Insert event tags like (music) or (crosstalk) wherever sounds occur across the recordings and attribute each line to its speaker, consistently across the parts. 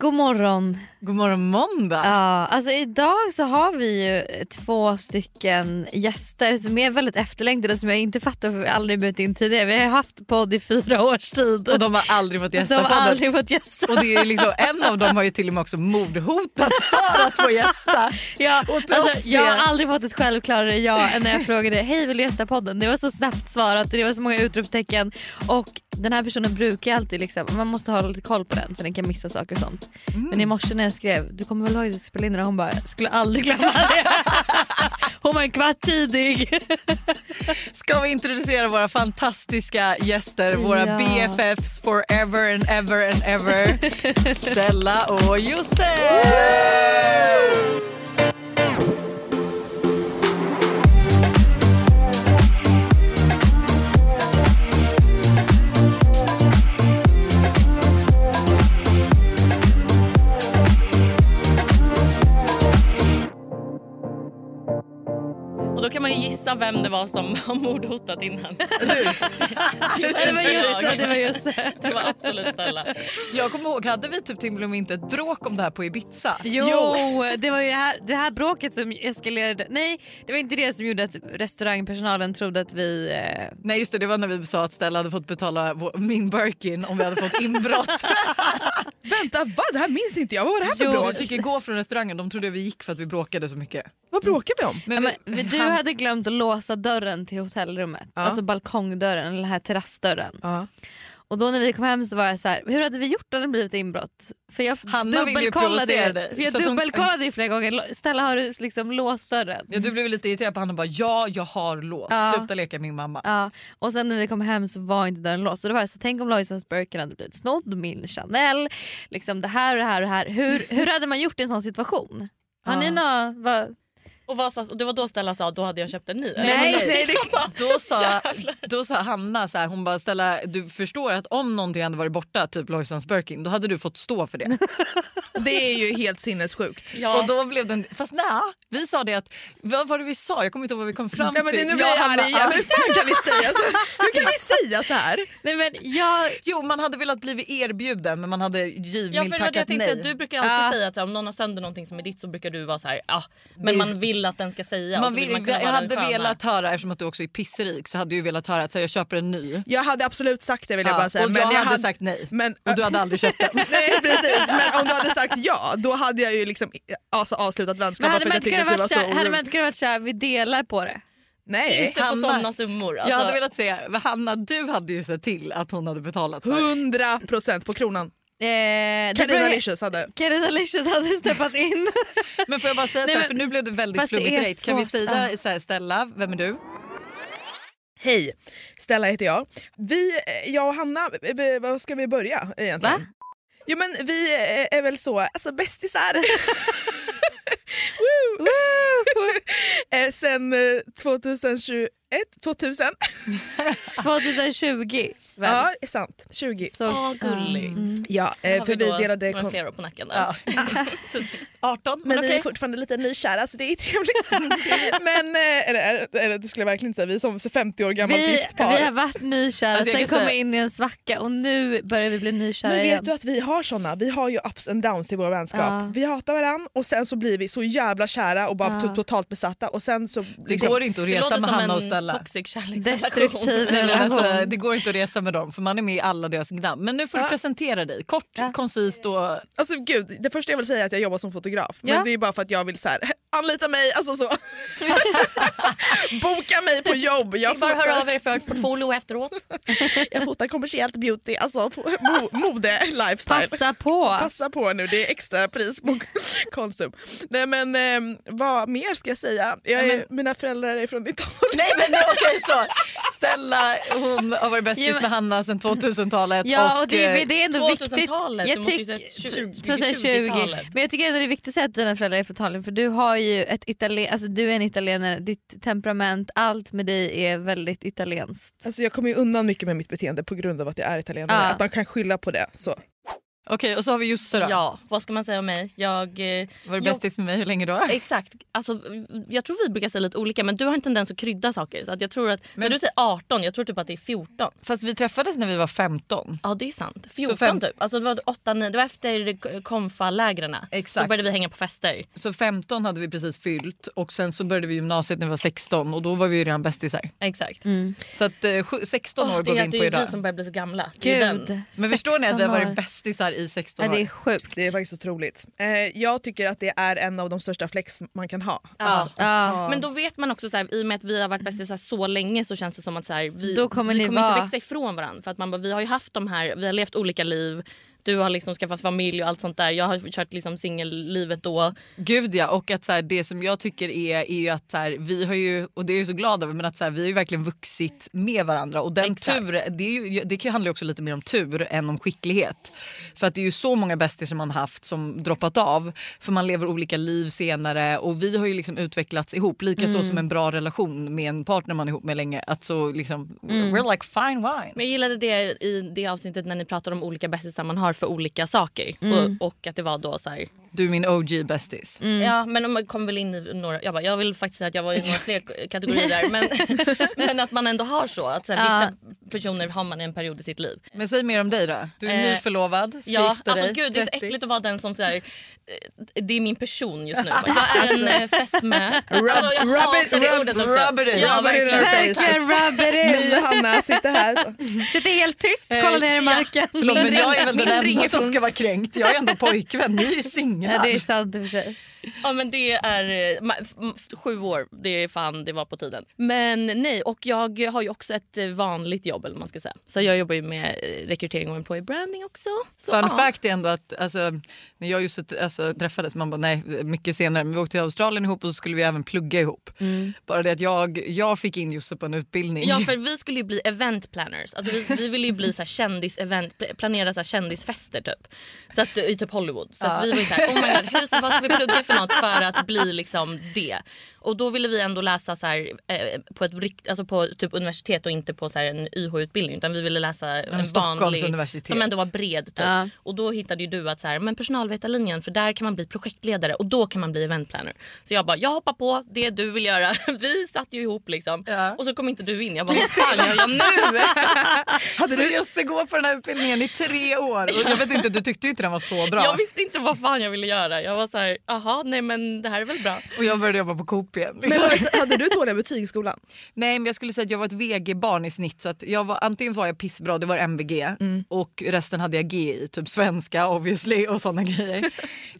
Speaker 1: God morgon.
Speaker 2: God morgon måndag!
Speaker 1: Ja, alltså idag så har vi ju två stycken gäster som är väldigt efterlängtade som jag inte fattar för vi har aldrig bjudit in tidigare. Vi har ju haft podd i fyra års tid.
Speaker 2: Och de har aldrig fått gästa
Speaker 1: De har
Speaker 2: podden.
Speaker 1: aldrig fått gästa.
Speaker 2: Och det är liksom, en av dem har ju till och med också mordhotat för att få gästa.
Speaker 1: Ja,
Speaker 2: trots
Speaker 1: alltså, jag
Speaker 2: det-
Speaker 1: har aldrig fått ett självklarare ja än när jag frågade hej vill du gästa podden? Det var så snabbt svarat och det var så många utropstecken och den här personen brukar alltid liksom, man måste ha lite koll på den för den kan missa saker och sånt. Men i morse när jag skrev du kommer väl ihåg att du spelade in det här?" hon bara "Jag skulle aldrig glömma det. (laughs) hon var en kvart tidig.
Speaker 2: Ska vi introducera våra fantastiska gäster, våra
Speaker 1: Ja.
Speaker 2: BFFs forever and ever and ever. Stella och Josef!
Speaker 3: Och då kan man ju gissa vem det var som har
Speaker 2: (laughs)
Speaker 3: mordhotat innan.
Speaker 1: det var Josse, det var Josse.
Speaker 3: Det var absolut Stella.
Speaker 2: Jag kommer ihåg, hade vi typ till och med inte ett bråk om det här på Ibiza?
Speaker 1: Jo, det var ju det här, det här bråket som eskalerade. Nej, det var inte det som gjorde att restaurangpersonalen trodde att vi... Eh,
Speaker 2: Nej just det, det var när vi sa att Stella hade fått betala vår- min Birkin om vi hade fått inbrott.
Speaker 4: Vänta, va? Det här minns inte jag. Vad var det här för
Speaker 1: Jo,
Speaker 2: Vi
Speaker 4: bråk?
Speaker 2: fick ju gå från restaurangen, de trodde vi gick för att vi bråkade så mycket.
Speaker 4: Vad bråkar vi om?
Speaker 1: Ja,
Speaker 2: Men vi,
Speaker 1: men, du hade glömt att låsa dörren till hotellrummet, alltså balkongdörren eller den här terrassdörren.
Speaker 4: Ja.
Speaker 1: Och då när vi kom hem så var jag så här, hur hade vi gjort om det blivit inbrott? För jag
Speaker 2: Hanna ville ju provocera dig,
Speaker 1: för jag
Speaker 2: så att hon-
Speaker 1: dubbelkollade ju flera gånger, Stella har du liksom låst dörren?
Speaker 2: Ja, du blev lite irriterad på honom och bara ja, jag har lås.
Speaker 1: Ja.
Speaker 2: Sluta leka min mamma.
Speaker 1: Ja, och sen när vi kom hem så var inte dörren låst. Så det var jag så tänk om Lojsans Birkin hade blivit snodd, min Chanel, liksom det här och det här och det här. Hur, hur hade man gjort i en sån situation? Har ni några, vad,
Speaker 3: Och, vad sa, och det var då Stella sa då hade jag köpt en ny. eller?
Speaker 1: Nej,
Speaker 2: nej, Då,
Speaker 3: (laughs)
Speaker 2: sa, då sa Hanna så här, hon bara Stella du förstår att om någonting hade varit borta, typ Lojsans Birkin, då hade du fått stå för det.
Speaker 4: Det är ju helt sinnessjukt.
Speaker 3: (laughs) Ja.
Speaker 2: Och då blev den, fast nej, vi sa det att, vad var det vi sa? Jag kommer inte ihåg vad vi kom fram
Speaker 4: Nej, men det,
Speaker 2: till.
Speaker 4: nu blir
Speaker 2: Jag
Speaker 4: jag
Speaker 2: och
Speaker 4: arg
Speaker 2: Hanna,
Speaker 4: igen.
Speaker 2: ja.
Speaker 4: Hur fan kan ni säga så? Hur kan ni säga så här?
Speaker 1: nej men jag,
Speaker 2: Jo man hade velat blivit erbjuden men man hade
Speaker 3: Ja, för
Speaker 2: givmilt
Speaker 3: det var det jag
Speaker 2: tackat
Speaker 3: tänkte
Speaker 2: nej.
Speaker 3: att du brukar alltid säga att så här, om någon har sönder någonting som är ditt så brukar du vara så här, ah, men
Speaker 2: Det är-
Speaker 3: man vill att den ska säga. och
Speaker 2: Man
Speaker 3: så vill
Speaker 2: vill,
Speaker 3: Alltså, man kunna
Speaker 2: jag
Speaker 3: vara den
Speaker 2: hade
Speaker 3: sköna.
Speaker 2: velat höra, eftersom att du också är pisserik så hade du velat höra att så här, jag köper en ny.
Speaker 4: Jag hade absolut sagt det vill jag
Speaker 2: Ja,
Speaker 4: bara säga.
Speaker 2: och jag hade sagt nej.
Speaker 4: Men,
Speaker 2: Och du hade aldrig köpt den.
Speaker 4: (laughs) Nej precis, men om du hade sagt ja då hade jag ju liksom alltså, avslutat
Speaker 1: men
Speaker 4: vänskapen
Speaker 1: hade
Speaker 4: för
Speaker 1: man
Speaker 4: jag
Speaker 1: inte
Speaker 4: tyckte
Speaker 1: kunnat
Speaker 4: att du var
Speaker 1: vara
Speaker 4: så
Speaker 1: så här, hade man
Speaker 4: orolig.
Speaker 1: inte kunnat vara så här, vi delar på det? Eh,
Speaker 4: Nej,
Speaker 3: Inte på
Speaker 2: Hanna.
Speaker 3: sådana summor. Alltså.
Speaker 2: Jag hade velat säga, men Hanna du hade ju sett till att hon hade betalat för det.
Speaker 4: 100 procent på kronan.
Speaker 1: Eh, det
Speaker 4: Carina
Speaker 1: beror-
Speaker 4: Licious hade.
Speaker 1: Carina Licious hade steppat (laughs) in.
Speaker 2: Men får jag bara säga
Speaker 1: Nej,
Speaker 2: så här,
Speaker 1: men-
Speaker 2: för nu blev det väldigt
Speaker 1: fast det
Speaker 2: flummigt
Speaker 1: är
Speaker 2: direkt. Kan vi
Speaker 1: svårt,
Speaker 2: säga så här, Stella, vem är du?
Speaker 4: Hej, Stella heter jag. Vi, jag och Hanna, eh, eh, var ska vi börja egentligen?
Speaker 1: Va?
Speaker 4: Jo men vi eh, är väl så, alltså bästisar. (laughs) Woo! Eh, Sen eh, 2021, 2000.
Speaker 1: 2020. väl?
Speaker 4: Ja, är sant. 20.
Speaker 1: Så,
Speaker 3: Åh,
Speaker 2: Mm.
Speaker 3: gulligt.
Speaker 4: Ja, eh,
Speaker 3: Har
Speaker 4: för vi
Speaker 3: då
Speaker 4: delade...
Speaker 3: några
Speaker 4: Kon-
Speaker 3: fler år på nacken. Där.
Speaker 2: 18,
Speaker 4: men
Speaker 2: men
Speaker 4: vi
Speaker 2: okej.
Speaker 4: är fortfarande lite nykära så det är trevligt. men, eh, eller, eller, eller det skulle jag verkligen inte säga, vi är som 50 år gammalt
Speaker 1: vi,
Speaker 4: gift
Speaker 1: vi
Speaker 4: par.
Speaker 1: har varit nykära,
Speaker 2: Alltså, jag
Speaker 1: sen
Speaker 2: kan
Speaker 1: kom vi
Speaker 2: säga-
Speaker 1: in i en svacka och nu börjar vi bli nykära
Speaker 4: Men
Speaker 1: igen.
Speaker 4: vet du att vi har såna? Vi har ju ups and downs i vår vänskap.
Speaker 1: Ja.
Speaker 4: Vi hatar varandra och sen så blir vi så jävla kära och bara
Speaker 1: Ja.
Speaker 4: to- totalt besatta och sen så... liksom-
Speaker 2: Det går inte att
Speaker 3: Det
Speaker 2: resa
Speaker 3: låter
Speaker 2: med
Speaker 3: som
Speaker 2: Hanna och
Speaker 3: en
Speaker 2: Stella.
Speaker 3: toxic kärleksrelation.
Speaker 1: Destruktiv
Speaker 2: Nej, men alltså,
Speaker 1: relation.
Speaker 2: det går inte att resa med dem för man är med i alla deras gnabb. Men nu får du presentera dig kort, koncist och...
Speaker 4: Alltså gud, det första jag vill säga är att jag jobbar som fotograf.
Speaker 1: Ja.
Speaker 4: Men det är bara för att jag vill så här, (laughs) anlita mig,
Speaker 1: (laughs)
Speaker 4: alltså så. Boka mig på jobb. Jag
Speaker 3: Ni bara hör
Speaker 4: fotar,
Speaker 3: av er för ett portfolio efteråt.
Speaker 4: (laughs) jag fotar kommersiellt beauty, alltså fo-
Speaker 1: (laughs)
Speaker 4: mo, mode, lifestyle.
Speaker 1: Passa på!
Speaker 4: Passa på nu, det är extra pris på (laughs) Konsum. Nej men ehm, vad mer ska jag säga? Jag är, Mina föräldrar är från Italien.
Speaker 2: Nej men okej så! Stella hon har varit bästis
Speaker 1: Ja, men-
Speaker 2: med Hanna sedan 2000-talet.
Speaker 1: Ja, och
Speaker 2: eh,
Speaker 1: det, det är ändå viktigt.
Speaker 3: 2000-talet,
Speaker 1: Jag
Speaker 3: du måste ju
Speaker 1: tyck-
Speaker 3: säga tjugo-
Speaker 1: så att säga
Speaker 3: 20-talet.
Speaker 1: Men jag tycker ändå det är viktigt att säga att dina föräldrar är från Italien för du har ju ett italien, alltså du är en italienare, ditt temperament, allt med dig är väldigt italienskt.
Speaker 4: Alltså jag kommer ju undan mycket med mitt beteende på grund av att jag är italienare.
Speaker 1: Ja.
Speaker 4: Att man kan skylla på det. Så.
Speaker 2: eh, Okej, och så har vi Josse då.
Speaker 3: (laughs) Ja, vad ska man säga om mig? Jag... eh,
Speaker 2: Varit
Speaker 3: jo,
Speaker 2: bästis med mig hur länge då?
Speaker 3: Exakt. Alltså, jag tror vi brukar säga lite olika men du har en tendens att krydda saker. Så att jag tror att, När du säger 18, jag tror typ att det är 14.
Speaker 2: Fast vi träffades när vi var 15.
Speaker 3: Ja det är sant. 14
Speaker 2: fem-
Speaker 3: typ. Alltså, det, var 8, 9, det var efter konfa-lägren.
Speaker 2: Exakt.
Speaker 3: Då började vi hänga på fester.
Speaker 2: Så 15 hade vi precis fyllt och sen så började vi gymnasiet när vi var 16 och då var vi ju redan bästisar.
Speaker 3: Exakt.
Speaker 1: Mm.
Speaker 2: Så att eh, sju- 16
Speaker 3: Åh,
Speaker 2: år
Speaker 3: det,
Speaker 2: går vi
Speaker 3: är-
Speaker 2: in
Speaker 3: det
Speaker 2: på
Speaker 3: är vi
Speaker 2: idag.
Speaker 3: som börjar bli så gamla. Det är
Speaker 1: Gud,
Speaker 3: den.
Speaker 2: Men förstår ni att vi har
Speaker 1: 16
Speaker 2: varit bästisar i 16
Speaker 1: Ja,
Speaker 2: år?
Speaker 1: det är sjukt.
Speaker 4: Det är faktiskt otroligt. Eh, jag tycker att det är en av de största flex man kan ha.
Speaker 3: Ja.
Speaker 1: Ja.
Speaker 3: Men då vet man också så här, i och med att vi har varit bästisar så länge så känns det som att så här, vi,
Speaker 1: Då kommer
Speaker 3: vi
Speaker 1: ni
Speaker 3: kommer
Speaker 1: vara-
Speaker 3: inte växa ifrån varandra. För att man bara, vi har ju haft de här, vi har levt olika liv. Du har liksom skaffat familj och allt sånt där. Jag har kört liksom singellivet då.
Speaker 2: Gud ja, och att så här, det som jag tycker är, är ju att så här, vi har ju, och det är jag ju så glad över, men att så här, vi har ju verkligen vuxit med varandra och den
Speaker 3: Exakt.
Speaker 2: tur, det, är ju, det kan ju handla också lite mer om tur än om skicklighet. För att det är ju så många bästisar man har haft som droppat av för man lever olika liv senare och vi har ju liksom utvecklats ihop, likaså
Speaker 1: Mm.
Speaker 2: som en bra relation med en partner man är ihop med länge. Att så liksom,
Speaker 1: Mm.
Speaker 2: we're like fine wine.
Speaker 3: Men jag gillade det i det avsnittet när ni pratade om olika bästisar man har för olika saker.
Speaker 4: Mm.
Speaker 3: Och, och att det var då så här,
Speaker 2: Du är min OG bästis.
Speaker 3: Ja, men man kom väl in i några... Jag, bara, jag vill faktiskt säga att jag var i några fler k- kategorier där.
Speaker 4: (laughs)
Speaker 3: Men, men att man ändå har så. Att så här, vissa personer har man i en period i sitt liv.
Speaker 2: Men säg mer om dig då. Du är
Speaker 3: Eh,
Speaker 2: nyförlovad, ska
Speaker 3: Ja,
Speaker 2: gifta
Speaker 3: alltså
Speaker 2: dig,
Speaker 3: gud det är så
Speaker 2: 30.
Speaker 3: äckligt att vara den som så här, eh, Det är min person just
Speaker 4: (laughs)
Speaker 3: nu. Jag är en eh, fästmö. Alltså, jag
Speaker 4: rub it,
Speaker 3: hatar det
Speaker 4: rub-
Speaker 3: ordet också.
Speaker 2: rub it in.
Speaker 3: ja,
Speaker 4: Rub it in
Speaker 3: verkligen.
Speaker 4: our faces.
Speaker 1: rub it in.
Speaker 4: Ni Hanna sitter här. Så.
Speaker 1: Sitter helt tyst,
Speaker 2: Eh,
Speaker 1: kollar ner i marken.
Speaker 2: Förlåt, men jag är väl
Speaker 4: Min
Speaker 2: den enda
Speaker 4: ring
Speaker 2: som
Speaker 4: från-
Speaker 2: ska vara kränkt. Jag är ändå pojkvän, ni är ju
Speaker 1: Ja,
Speaker 2: singlar.
Speaker 1: det är sant i och för sig.
Speaker 3: Ja men det är eh, ma- f- f- sju år, det är fan det var på tiden. Men nej, och jag har ju också ett eh, vanligt jobb eller vad man ska säga. Så jag jobbar ju med eh, rekrytering och employee branding också. Så,
Speaker 2: Fun
Speaker 3: ja.
Speaker 2: fact är ändå att alltså, när jag just alltså, träffades, man bara nej mycket senare, men vi åkte till Australien ihop och så skulle vi även plugga ihop. Bara det att jag, jag fick in Josse på en utbildning.
Speaker 3: Mm. Ja för vi skulle ju bli event planners. Alltså, vi, vi ville ju bli så här kändis-event, pl- planera så här kändisfester typ. Så att, I typ Hollywood. Så att vi var ju så här, oh my god, hur ska, vad ska vi plugga för något för att bli liksom det? Och då ville vi ändå läsa så här, eh, på ett rikt, alltså på typ universitet och inte på så här en YH-utbildning utan vi ville läsa en
Speaker 2: Stockholms
Speaker 3: vanlig
Speaker 2: universitet.
Speaker 3: som ändå var bred typ.
Speaker 1: Ja.
Speaker 3: Och då hittade ju du att så här, men personalvetarlinjen för där kan man bli projektledare och då kan man bli event planner. Så jag bara jag hoppar på det du vill göra. (laughs) Vi satt ju ihop liksom
Speaker 2: Ja.
Speaker 3: och så kom inte du in. Jag bara vad fan gör jag nu?
Speaker 2: (laughs) Hade du Josse gå på den här utbildningen i tre år? Och jag vet inte, du tyckte ju inte den var så bra.
Speaker 3: Jag visste inte vad fan jag ville göra. Jag var så här, aha, nej men det här är väl bra.
Speaker 2: Och jag började jobba på Coop igen. liksom.
Speaker 4: Men alltså, hade du dåliga betyg i skolan?
Speaker 2: Nej men jag skulle säga att jag var ett VG-barn i snitt så att jag var, antingen var jag pissbra, det var MVG
Speaker 3: Mm.
Speaker 2: och resten hade jag G i, typ svenska obviously och sådana
Speaker 3: (laughs)
Speaker 2: grejer.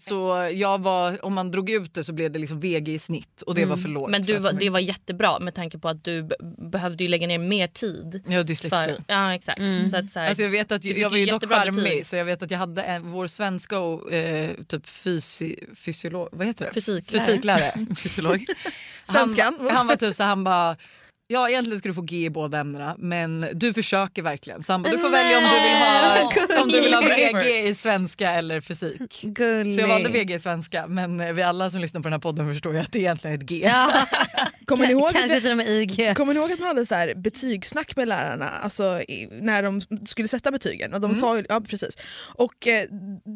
Speaker 2: så jag var, om man drog ut det så blev det liksom VG i snitt och det var för lågt.
Speaker 3: Mm. Men du
Speaker 2: för
Speaker 3: var,
Speaker 2: att-
Speaker 3: det var jättebra med tanke på att du be- behövde ju lägga ner mer tid.
Speaker 2: Jag har dyslexi.
Speaker 3: För, ja exakt. Så att, så här,
Speaker 2: Mm. Alltså jag vet att
Speaker 3: du
Speaker 2: jag,
Speaker 3: fick
Speaker 2: jag var ju dock
Speaker 3: jättebra betyg.
Speaker 2: charmig så jag vet att jag hade en, vår svenska och eh, typ fysi, fysiolog, vad heter det?
Speaker 3: Fysiklärare. (laughs)
Speaker 2: Fysiklärare. Fysiolog.
Speaker 4: Svenskan.
Speaker 2: Han, ba- han var typ så han bara Ja egentligen skulle du få G i båda ämnena men du försöker verkligen. Så han bara, du får välja om du vill ha, (laughs) om du vill ha VG i svenska eller fysik.
Speaker 1: Gullig.
Speaker 2: Så jag valde VG i svenska men eh, vi alla som lyssnar på den här podden förstår ju att det egentligen är ett G.
Speaker 4: Kommer ni ihåg
Speaker 1: Kanske
Speaker 4: att,
Speaker 1: till och med IG.
Speaker 4: kommer ni ihåg att man hade så här betygssnack med lärarna alltså, i, när de skulle sätta betygen? Och de sa ju, ja, precis. Och, eh,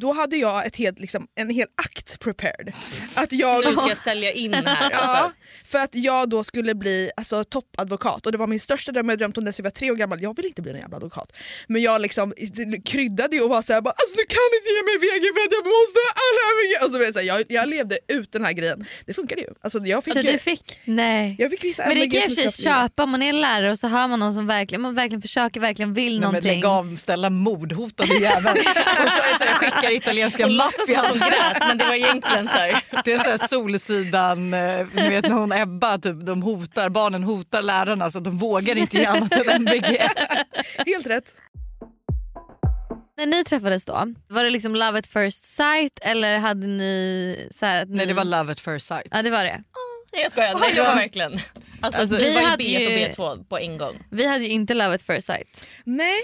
Speaker 4: då hade jag ett helt, liksom, en hel akt prepared. Att jag, liksom
Speaker 3: Nu ska jag sälja
Speaker 2: (laughs)
Speaker 3: in här. Alltså.
Speaker 4: Ja, för att jag då skulle bli alltså, toppadvokat och det var min största dröm, jag drömt om det sen jag var tre år gammal. Jag vill inte bli en jävla advokat. Men jag liksom kryddade ju och var såhär, bara, alltså, du kan inte ge mig VG för att jag måste ha alla VG. Och så var jag, så här, jag, jag levde ut den här grejen. Det funkade ju. Alltså, jag, fick,
Speaker 1: Så du fick? Nej.
Speaker 4: jag fick vissa
Speaker 1: Men det
Speaker 4: MVG
Speaker 1: kan jag i och för sig
Speaker 4: som jag knappt-
Speaker 1: köpa om man är lärare och så hör man någon som verkligen, man verkligen försöker, verkligen vill
Speaker 2: Nej, men
Speaker 1: någonting.
Speaker 2: lägg av, ställa mordhotade
Speaker 3: (laughs)
Speaker 2: jäveln. och så, så, skickar italienska
Speaker 3: Hon låtsas som att
Speaker 2: maffian.
Speaker 3: hon grät men det var egentligen så här.
Speaker 2: Det är så här Solsidan, eh, ni vet när hon Ebba, typ, de hotar, barnen hotar lärarna så att de vågar inte ge annat
Speaker 1: (laughs)
Speaker 2: än MVG.
Speaker 4: Helt rätt.
Speaker 1: När ni träffades då, var det liksom love at first sight eller hade ni... Så här att ni...
Speaker 2: Nej det var love at first sight.
Speaker 1: Ja det var det.
Speaker 3: Nej jag skojar, nej, det var verkligen. Alltså,
Speaker 1: Alltså,
Speaker 3: vi
Speaker 1: vi
Speaker 3: var
Speaker 1: hade
Speaker 3: ju B1
Speaker 1: ju-
Speaker 3: och B2 på en gång.
Speaker 1: Vi hade ju inte Love at first sight.
Speaker 4: Nej.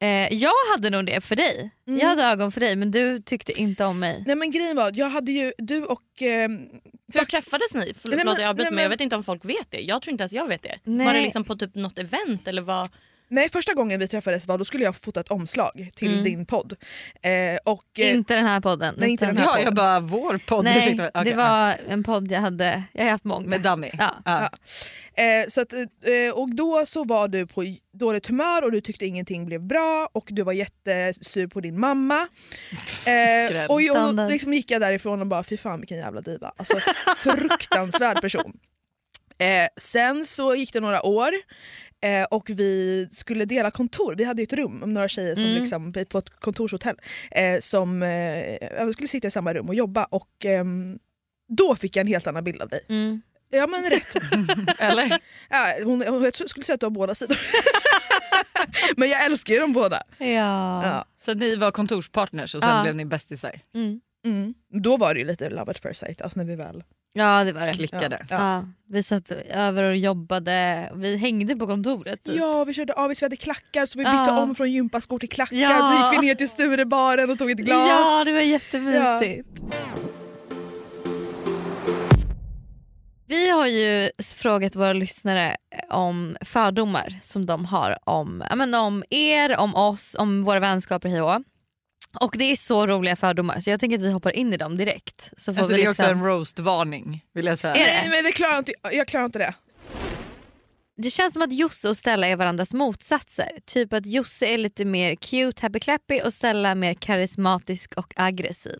Speaker 1: Eh, jag hade nog det för dig.
Speaker 2: Mm.
Speaker 1: Jag hade ögon för dig men du tyckte inte om mig.
Speaker 4: Nej men grejen var, jag hade ju, du och... ehm,
Speaker 3: Hur träffades ni? Förl-
Speaker 4: men-
Speaker 3: Förlåt jag avbryter
Speaker 4: nej,
Speaker 3: men jag
Speaker 4: men-
Speaker 3: vet inte om folk vet det. Jag tror inte ens jag vet det.
Speaker 1: Nej.
Speaker 3: Var det liksom på typ något event eller vad?
Speaker 4: nej första gången vi träffades var då skulle jag fota ett omslag till
Speaker 1: Mm.
Speaker 4: din podd. Eh, och, eh,
Speaker 1: Inte den här podden.
Speaker 4: Nej, inte
Speaker 1: utan-
Speaker 4: den här
Speaker 2: Ja, jag bara vår podd.
Speaker 1: Nej,
Speaker 2: ursäkta. Okej,
Speaker 1: det var en podd jag hade. Jag har haft många.
Speaker 2: Med Danny?
Speaker 1: Ja.
Speaker 2: Ja.
Speaker 4: Eh, så att, eh, och då så var du på j- dåligt humör och du tyckte ingenting blev bra och du var jättesur på din mamma. Eh,
Speaker 2: Skräll.
Speaker 4: och jag,
Speaker 1: Standard.
Speaker 4: liksom gick jag därifrån och bara fy fan vilken jävla diva. Alltså fruktansvärd person. Eh, sen så gick det några år eh, och vi skulle dela kontor. Vi hade ju ett rum med några tjejer som liksom, på ett kontorshotell eh, som eh, vi skulle sitta i samma rum och jobba och ehm, då fick jag en helt annan bild av dig.
Speaker 1: Mm.
Speaker 4: Ja men rätt. Eller? Ja, hon, hon, jag skulle säga att du har båda sidor. (laughs) men jag älskar ju dem båda.
Speaker 1: Ja.
Speaker 4: Ja.
Speaker 2: Så ni var kontorspartners och sen
Speaker 1: Ja.
Speaker 2: blev ni bästisar?
Speaker 1: Mm.
Speaker 4: Mm. Då var det ju lite love at first sight, alltså när vi väl...
Speaker 1: ja det var det.
Speaker 4: Ja,
Speaker 2: Klickade?
Speaker 4: ja.
Speaker 1: Ja, vi satt över och jobbade, vi hängde på kontoret. typ.
Speaker 4: ja vi körde avis, vi hade klackar så vi bytte
Speaker 1: Ja.
Speaker 4: om från gympaskor till klackar
Speaker 1: Ja.
Speaker 4: så gick vi ner till Sturebaren och tog ett glas.
Speaker 1: ja det var jättemysigt. Vi har ju frågat våra lyssnare eh, om fördomar som de har om, ja, men om er, om oss, om våra vänskaper hej och hå. Och det är så roliga fördomar så jag tänker att vi hoppar in i dem direkt. Så får
Speaker 2: Alltså,
Speaker 1: vi
Speaker 2: det är också
Speaker 1: liksom...
Speaker 2: en roastvarning vill jag säga.
Speaker 1: Är det?
Speaker 4: Nej men det klarar jag inte, jag klarar inte det.
Speaker 1: Det känns som att Josse och Stella är varandras motsatser. Typ att Josse är lite mer cute, happy clappy och Stella mer karismatisk och aggressiv.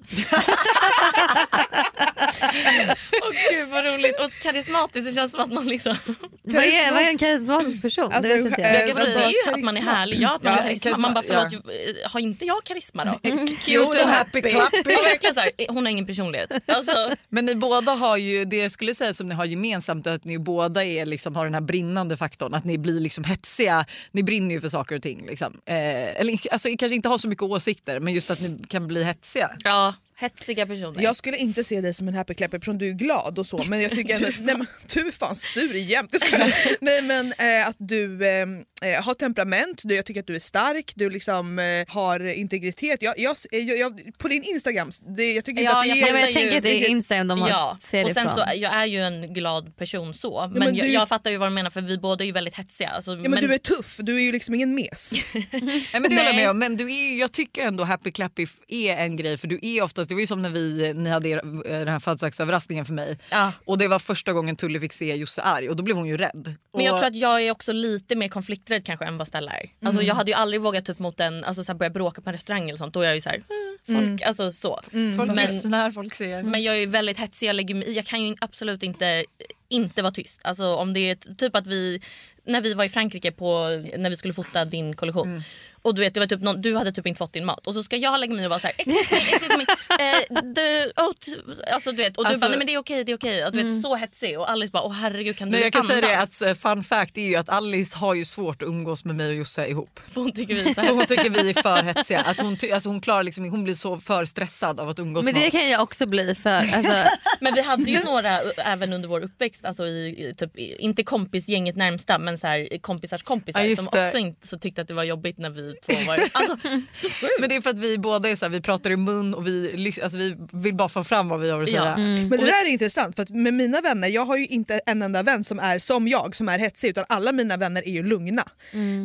Speaker 3: Åh gud vad roligt och karismatiskt det känns som att man liksom...
Speaker 1: Vad är, vad är en karismatisk person?
Speaker 4: Alltså,
Speaker 1: det vet inte jag.
Speaker 4: eh,
Speaker 3: Jag kan
Speaker 4: Alltså,
Speaker 3: säga, det är ju att man är
Speaker 4: karisma.
Speaker 3: härlig, ja att man
Speaker 2: Ja,
Speaker 3: är karisma.
Speaker 2: karisma,
Speaker 3: Man bara förlåt, ju- har inte jag karisma då?
Speaker 2: Cute and happy clappy.
Speaker 3: Ja, verkligen så här, "Eh, hon har ingen personlighet. Alltså,
Speaker 2: Men ni båda har ju, det jag skulle säga som ni har gemensamt är att ni båda är liksom, har den här brinnande faktorn. Att ni blir liksom hetsiga, ni brinner ju för saker och ting. Liksom. Eh, eller alltså, ni kanske inte har så mycket åsikter men just att ni kan bli hetsiga.
Speaker 3: ja, hetsiga personer.
Speaker 4: Jag skulle inte se dig som en happy clappy person, du är glad och så men jag
Speaker 3: (laughs)
Speaker 4: tycker ändå, nej, men, du är fan sur jämt. Jag skojar. nej men eh, att du eh, eh, har temperament, du, jag tycker att du är stark, du liksom eh, har integritet. Jag, jag, jag, jag, på din Instagram, det, jag tycker inte
Speaker 3: Ja,
Speaker 4: att det
Speaker 3: jag
Speaker 4: är...
Speaker 1: Nej, men jag
Speaker 3: ju-
Speaker 1: tänker att det är Instagram de har
Speaker 3: Ja,
Speaker 1: ser
Speaker 3: och
Speaker 1: det
Speaker 3: sen
Speaker 1: ifrån.
Speaker 3: så, jag är ju en glad person så. Men,
Speaker 4: men
Speaker 3: jag,
Speaker 4: du-
Speaker 3: jag fattar ju vad du menar för vi båda är ju väldigt hetsiga. Alltså,
Speaker 4: Ja, men, du är tuff, du är ju liksom ingen mes.
Speaker 2: Nej, men det
Speaker 3: Nej.
Speaker 2: håller jag med om. Men du är, ju- jag tycker ändå happy clappy f- är en grej för du är oftast, det var ju som när vi, ni hade er, eh, den här födelsedagsöverraskningen för mig
Speaker 3: Ja.
Speaker 2: och det var första gången Tully fick se Josse arg och då blev hon ju rädd.
Speaker 3: Men jag
Speaker 2: och,
Speaker 3: tror att jag är också lite mer konflikträdd kanske än vad Stella är. Alltså, jag hade ju aldrig vågat typ mot en, alltså, så här, börja bråka på en restaurang eller sånt. Då är jag ju såhär, folk, alltså så.
Speaker 2: folk
Speaker 3: men-
Speaker 2: lyssnar, folk ser.
Speaker 3: Men jag är ju väldigt hetsig, jag lägger mig i. Jag kan ju absolut inte, inte vara tyst. Alltså om det är t- typ att vi, när vi var i Frankrike på, när vi skulle fota din kollektion.
Speaker 2: Mm.
Speaker 3: Och du vet, det var typ någon, du hade typ inte fått din mat och så ska jag lägga mig i och vara såhär
Speaker 2: (laughs)
Speaker 3: excuse me, excuse me. Eh, the oat. Alltså, du vet, och
Speaker 2: Alltså-
Speaker 3: du
Speaker 2: Mm.
Speaker 3: bara nej men det är okej, det är okej. Och Du vet, Så hetsig och Alice bara åh herregud kan du
Speaker 2: Nej, jag kan
Speaker 3: andas?
Speaker 2: säga det att eh, fun fact är ju att Alice har ju svårt att umgås med mig och Josse ihop.
Speaker 3: För hon tycker vi
Speaker 2: (laughs)
Speaker 3: är så
Speaker 2: För hon
Speaker 3: hetsiga.
Speaker 2: tycker vi är för hetsiga. Att hon, ty- alltså hon, klarar liksom, hon blir så för stressad av att umgås
Speaker 1: Men
Speaker 2: med
Speaker 1: det
Speaker 2: oss.
Speaker 1: kan jag också bli för alltså,
Speaker 3: Men vi hade ju några ä, även under vår uppväxt, alltså i, i typ, i- inte kompisgänget närmsta men så här, kompisars kompisar
Speaker 2: Ja, just
Speaker 3: som
Speaker 2: det.
Speaker 3: också inte, så tyckte att det var jobbigt när vi två var... Alltså, så sjukt!
Speaker 2: Men det är för att vi båda är så här, vi pratar i mun och vi, lyx- alltså, vi vill bara få fram vad vi har att
Speaker 3: Ja.
Speaker 2: säga.
Speaker 4: Men det där är intressant för att med mina vänner, jag har ju inte en enda vän som är som jag som är hetsig utan alla mina vänner är ju lugna.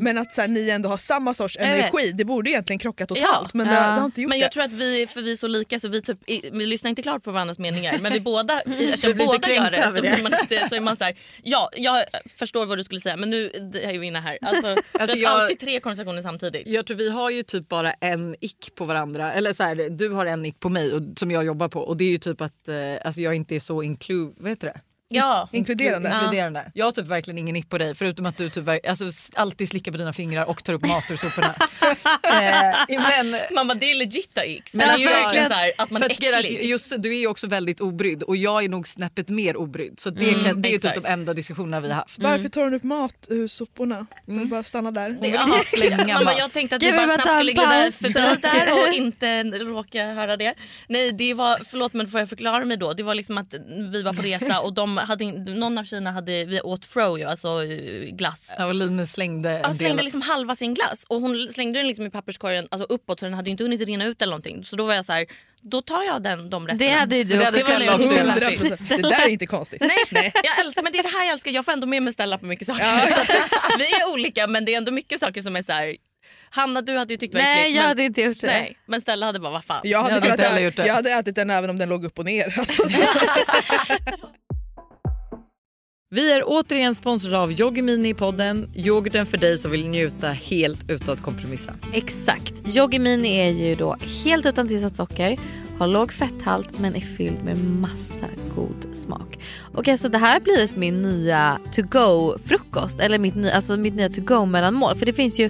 Speaker 4: Men att så här, ni ändå har samma sorts
Speaker 3: Mm. vet.
Speaker 4: energi, det borde egentligen krocka totalt
Speaker 3: Ja.
Speaker 4: men det, det har inte gjort
Speaker 3: Men
Speaker 4: det.
Speaker 3: jag tror att vi, för vi är så lika så vi, typ, i- vi lyssnar inte klart på varandras meningar men vi båda, eftersom
Speaker 2: Mm. blir inte
Speaker 3: båda gör
Speaker 2: kränkta
Speaker 3: det,
Speaker 2: över
Speaker 3: så,
Speaker 2: det.
Speaker 3: blir man inte, så är man så här, ja jag förstår vad du skulle säga men nu det är ju inne här. Alltså, alltså
Speaker 2: jag-
Speaker 3: Alltid tre konversationer samtidigt.
Speaker 2: Jag tror vi har ju typ bara en ick på varandra. Eller så här, du har en ick på mig och, som jag jobbar på och det är ju typ att eh, alltså jag inte är så inclu- vad heter det?
Speaker 3: Ja.
Speaker 2: Mm.
Speaker 4: Inkluderande.
Speaker 2: inkluderande. Jag har typ verkligen ingen ick på dig förutom att du typ ver- alltså, s- alltid slickar på dina fingrar och tar upp mat ur soporna. (laughs) eh, men
Speaker 3: Mamma det är legitta x.
Speaker 2: Men
Speaker 3: det är
Speaker 2: att
Speaker 3: ju verkligen
Speaker 2: verkligen-
Speaker 3: så här, att man
Speaker 2: för
Speaker 3: är
Speaker 2: att, grejen är att
Speaker 3: äcklig.
Speaker 2: Josse, du är ju också väldigt obrydd och jag är nog snäppet mer obrydd. Så det, kan, det är ju typ
Speaker 3: Mm, exakt. Mm.
Speaker 2: de enda diskussionerna vi har haft.
Speaker 4: Varför tar hon upp mat ur soporna? Kan du bara stanna där?
Speaker 3: Det-
Speaker 2: vill inte
Speaker 3: (laughs) Ja.
Speaker 2: slänga
Speaker 3: Mamma,
Speaker 2: mat.
Speaker 3: jag tänkte att
Speaker 1: Kan
Speaker 3: vi
Speaker 1: vi
Speaker 3: bara
Speaker 1: bara ta
Speaker 3: snabbt
Speaker 1: en
Speaker 3: skulle glida
Speaker 1: paus?
Speaker 3: förbi där och inte råka höra det. Nej, det var, förlåt men får jag förklara mig då? Det var liksom att vi var på resa och de de hade, in- någon av tjejerna hade, vi åt froyo, alltså eh, glass.
Speaker 2: Ja, och Line slängde en
Speaker 3: Ja, slängde
Speaker 2: del.
Speaker 3: liksom halva sin glass och hon slängde den liksom i papperskorgen alltså uppåt så den hade ju inte hunnit rinna ut eller någonting. Så då var jag så här, då tar jag den, de resterna.
Speaker 1: Det hade ju du
Speaker 2: Det
Speaker 1: också
Speaker 2: hade Stella
Speaker 1: kunnat
Speaker 2: också
Speaker 1: göra.
Speaker 2: velat.
Speaker 4: 100%. Det där är inte konstigt. Nej.
Speaker 3: (laughs) Jag älskar, men det är det här jag älskar. Jag får ändå med mig Stella på mycket saker. (laughs) Så att vi är olika men det är ändå mycket saker som är så här. Hanna du hade ju tyckt det var
Speaker 1: Nej
Speaker 3: äckligt,
Speaker 1: jag
Speaker 3: men,
Speaker 1: hade inte gjort det.
Speaker 3: nej, men Stella hade bara vad fan.
Speaker 4: Jag, hade
Speaker 2: Jag hade
Speaker 4: kunnat
Speaker 2: inte heller
Speaker 4: ä-
Speaker 2: gjort det.
Speaker 4: jag hade ätit den även om den låg upp och ner. Alltså, så.
Speaker 2: Vi är återigen sponsrade av Yogimini i podden. Yoghurten för dig som vill njuta helt utan att kompromissa.
Speaker 1: Exakt. Yoggimini är ju då helt utan tillsatt socker, har låg fetthalt men är fylld med massa god smak. Och alltså det här har blivit min nya to go frukost eller mitt, ny- alltså mitt nya to go mellanmål för det finns ju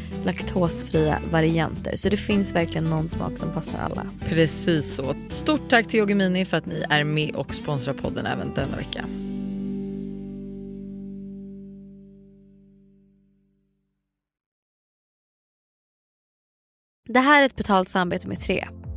Speaker 1: laktosfria varianter så det finns verkligen någon smak som passar alla.
Speaker 2: Precis så. Stort tack till Yoggi Mini för att ni är med och sponsrar podden även denna vecka.
Speaker 1: Det här är ett betalt samarbete med Tre.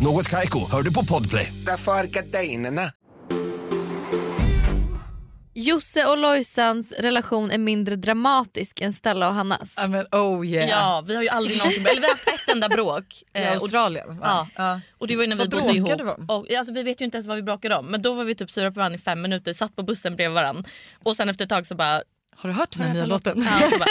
Speaker 5: Något Kaiko, hör du på Podplay.
Speaker 6: Därför är gardinerna.
Speaker 1: Josse och Lojsans relation är mindre dramatisk än Stella och Hannas.
Speaker 2: Ja men oh yeah.
Speaker 3: Ja, vi har ju aldrig någonsin, eller vi har haft ett
Speaker 2: (laughs)
Speaker 3: enda bråk.
Speaker 2: I
Speaker 3: Eh, och-
Speaker 2: Australien va?
Speaker 3: Ja. Och det var ju när
Speaker 2: Vad
Speaker 3: vi bodde ihop.
Speaker 2: bråkade de om?
Speaker 3: Och, alltså, vi vet ju inte ens vad vi bråkade om. Men då var vi typ sura på varandra i fem minuter, satt på bussen bredvid varandra. Och sen efter ett tag så bara...
Speaker 2: Har du hört den här nya låten? (laughs)
Speaker 3: Ja, så bara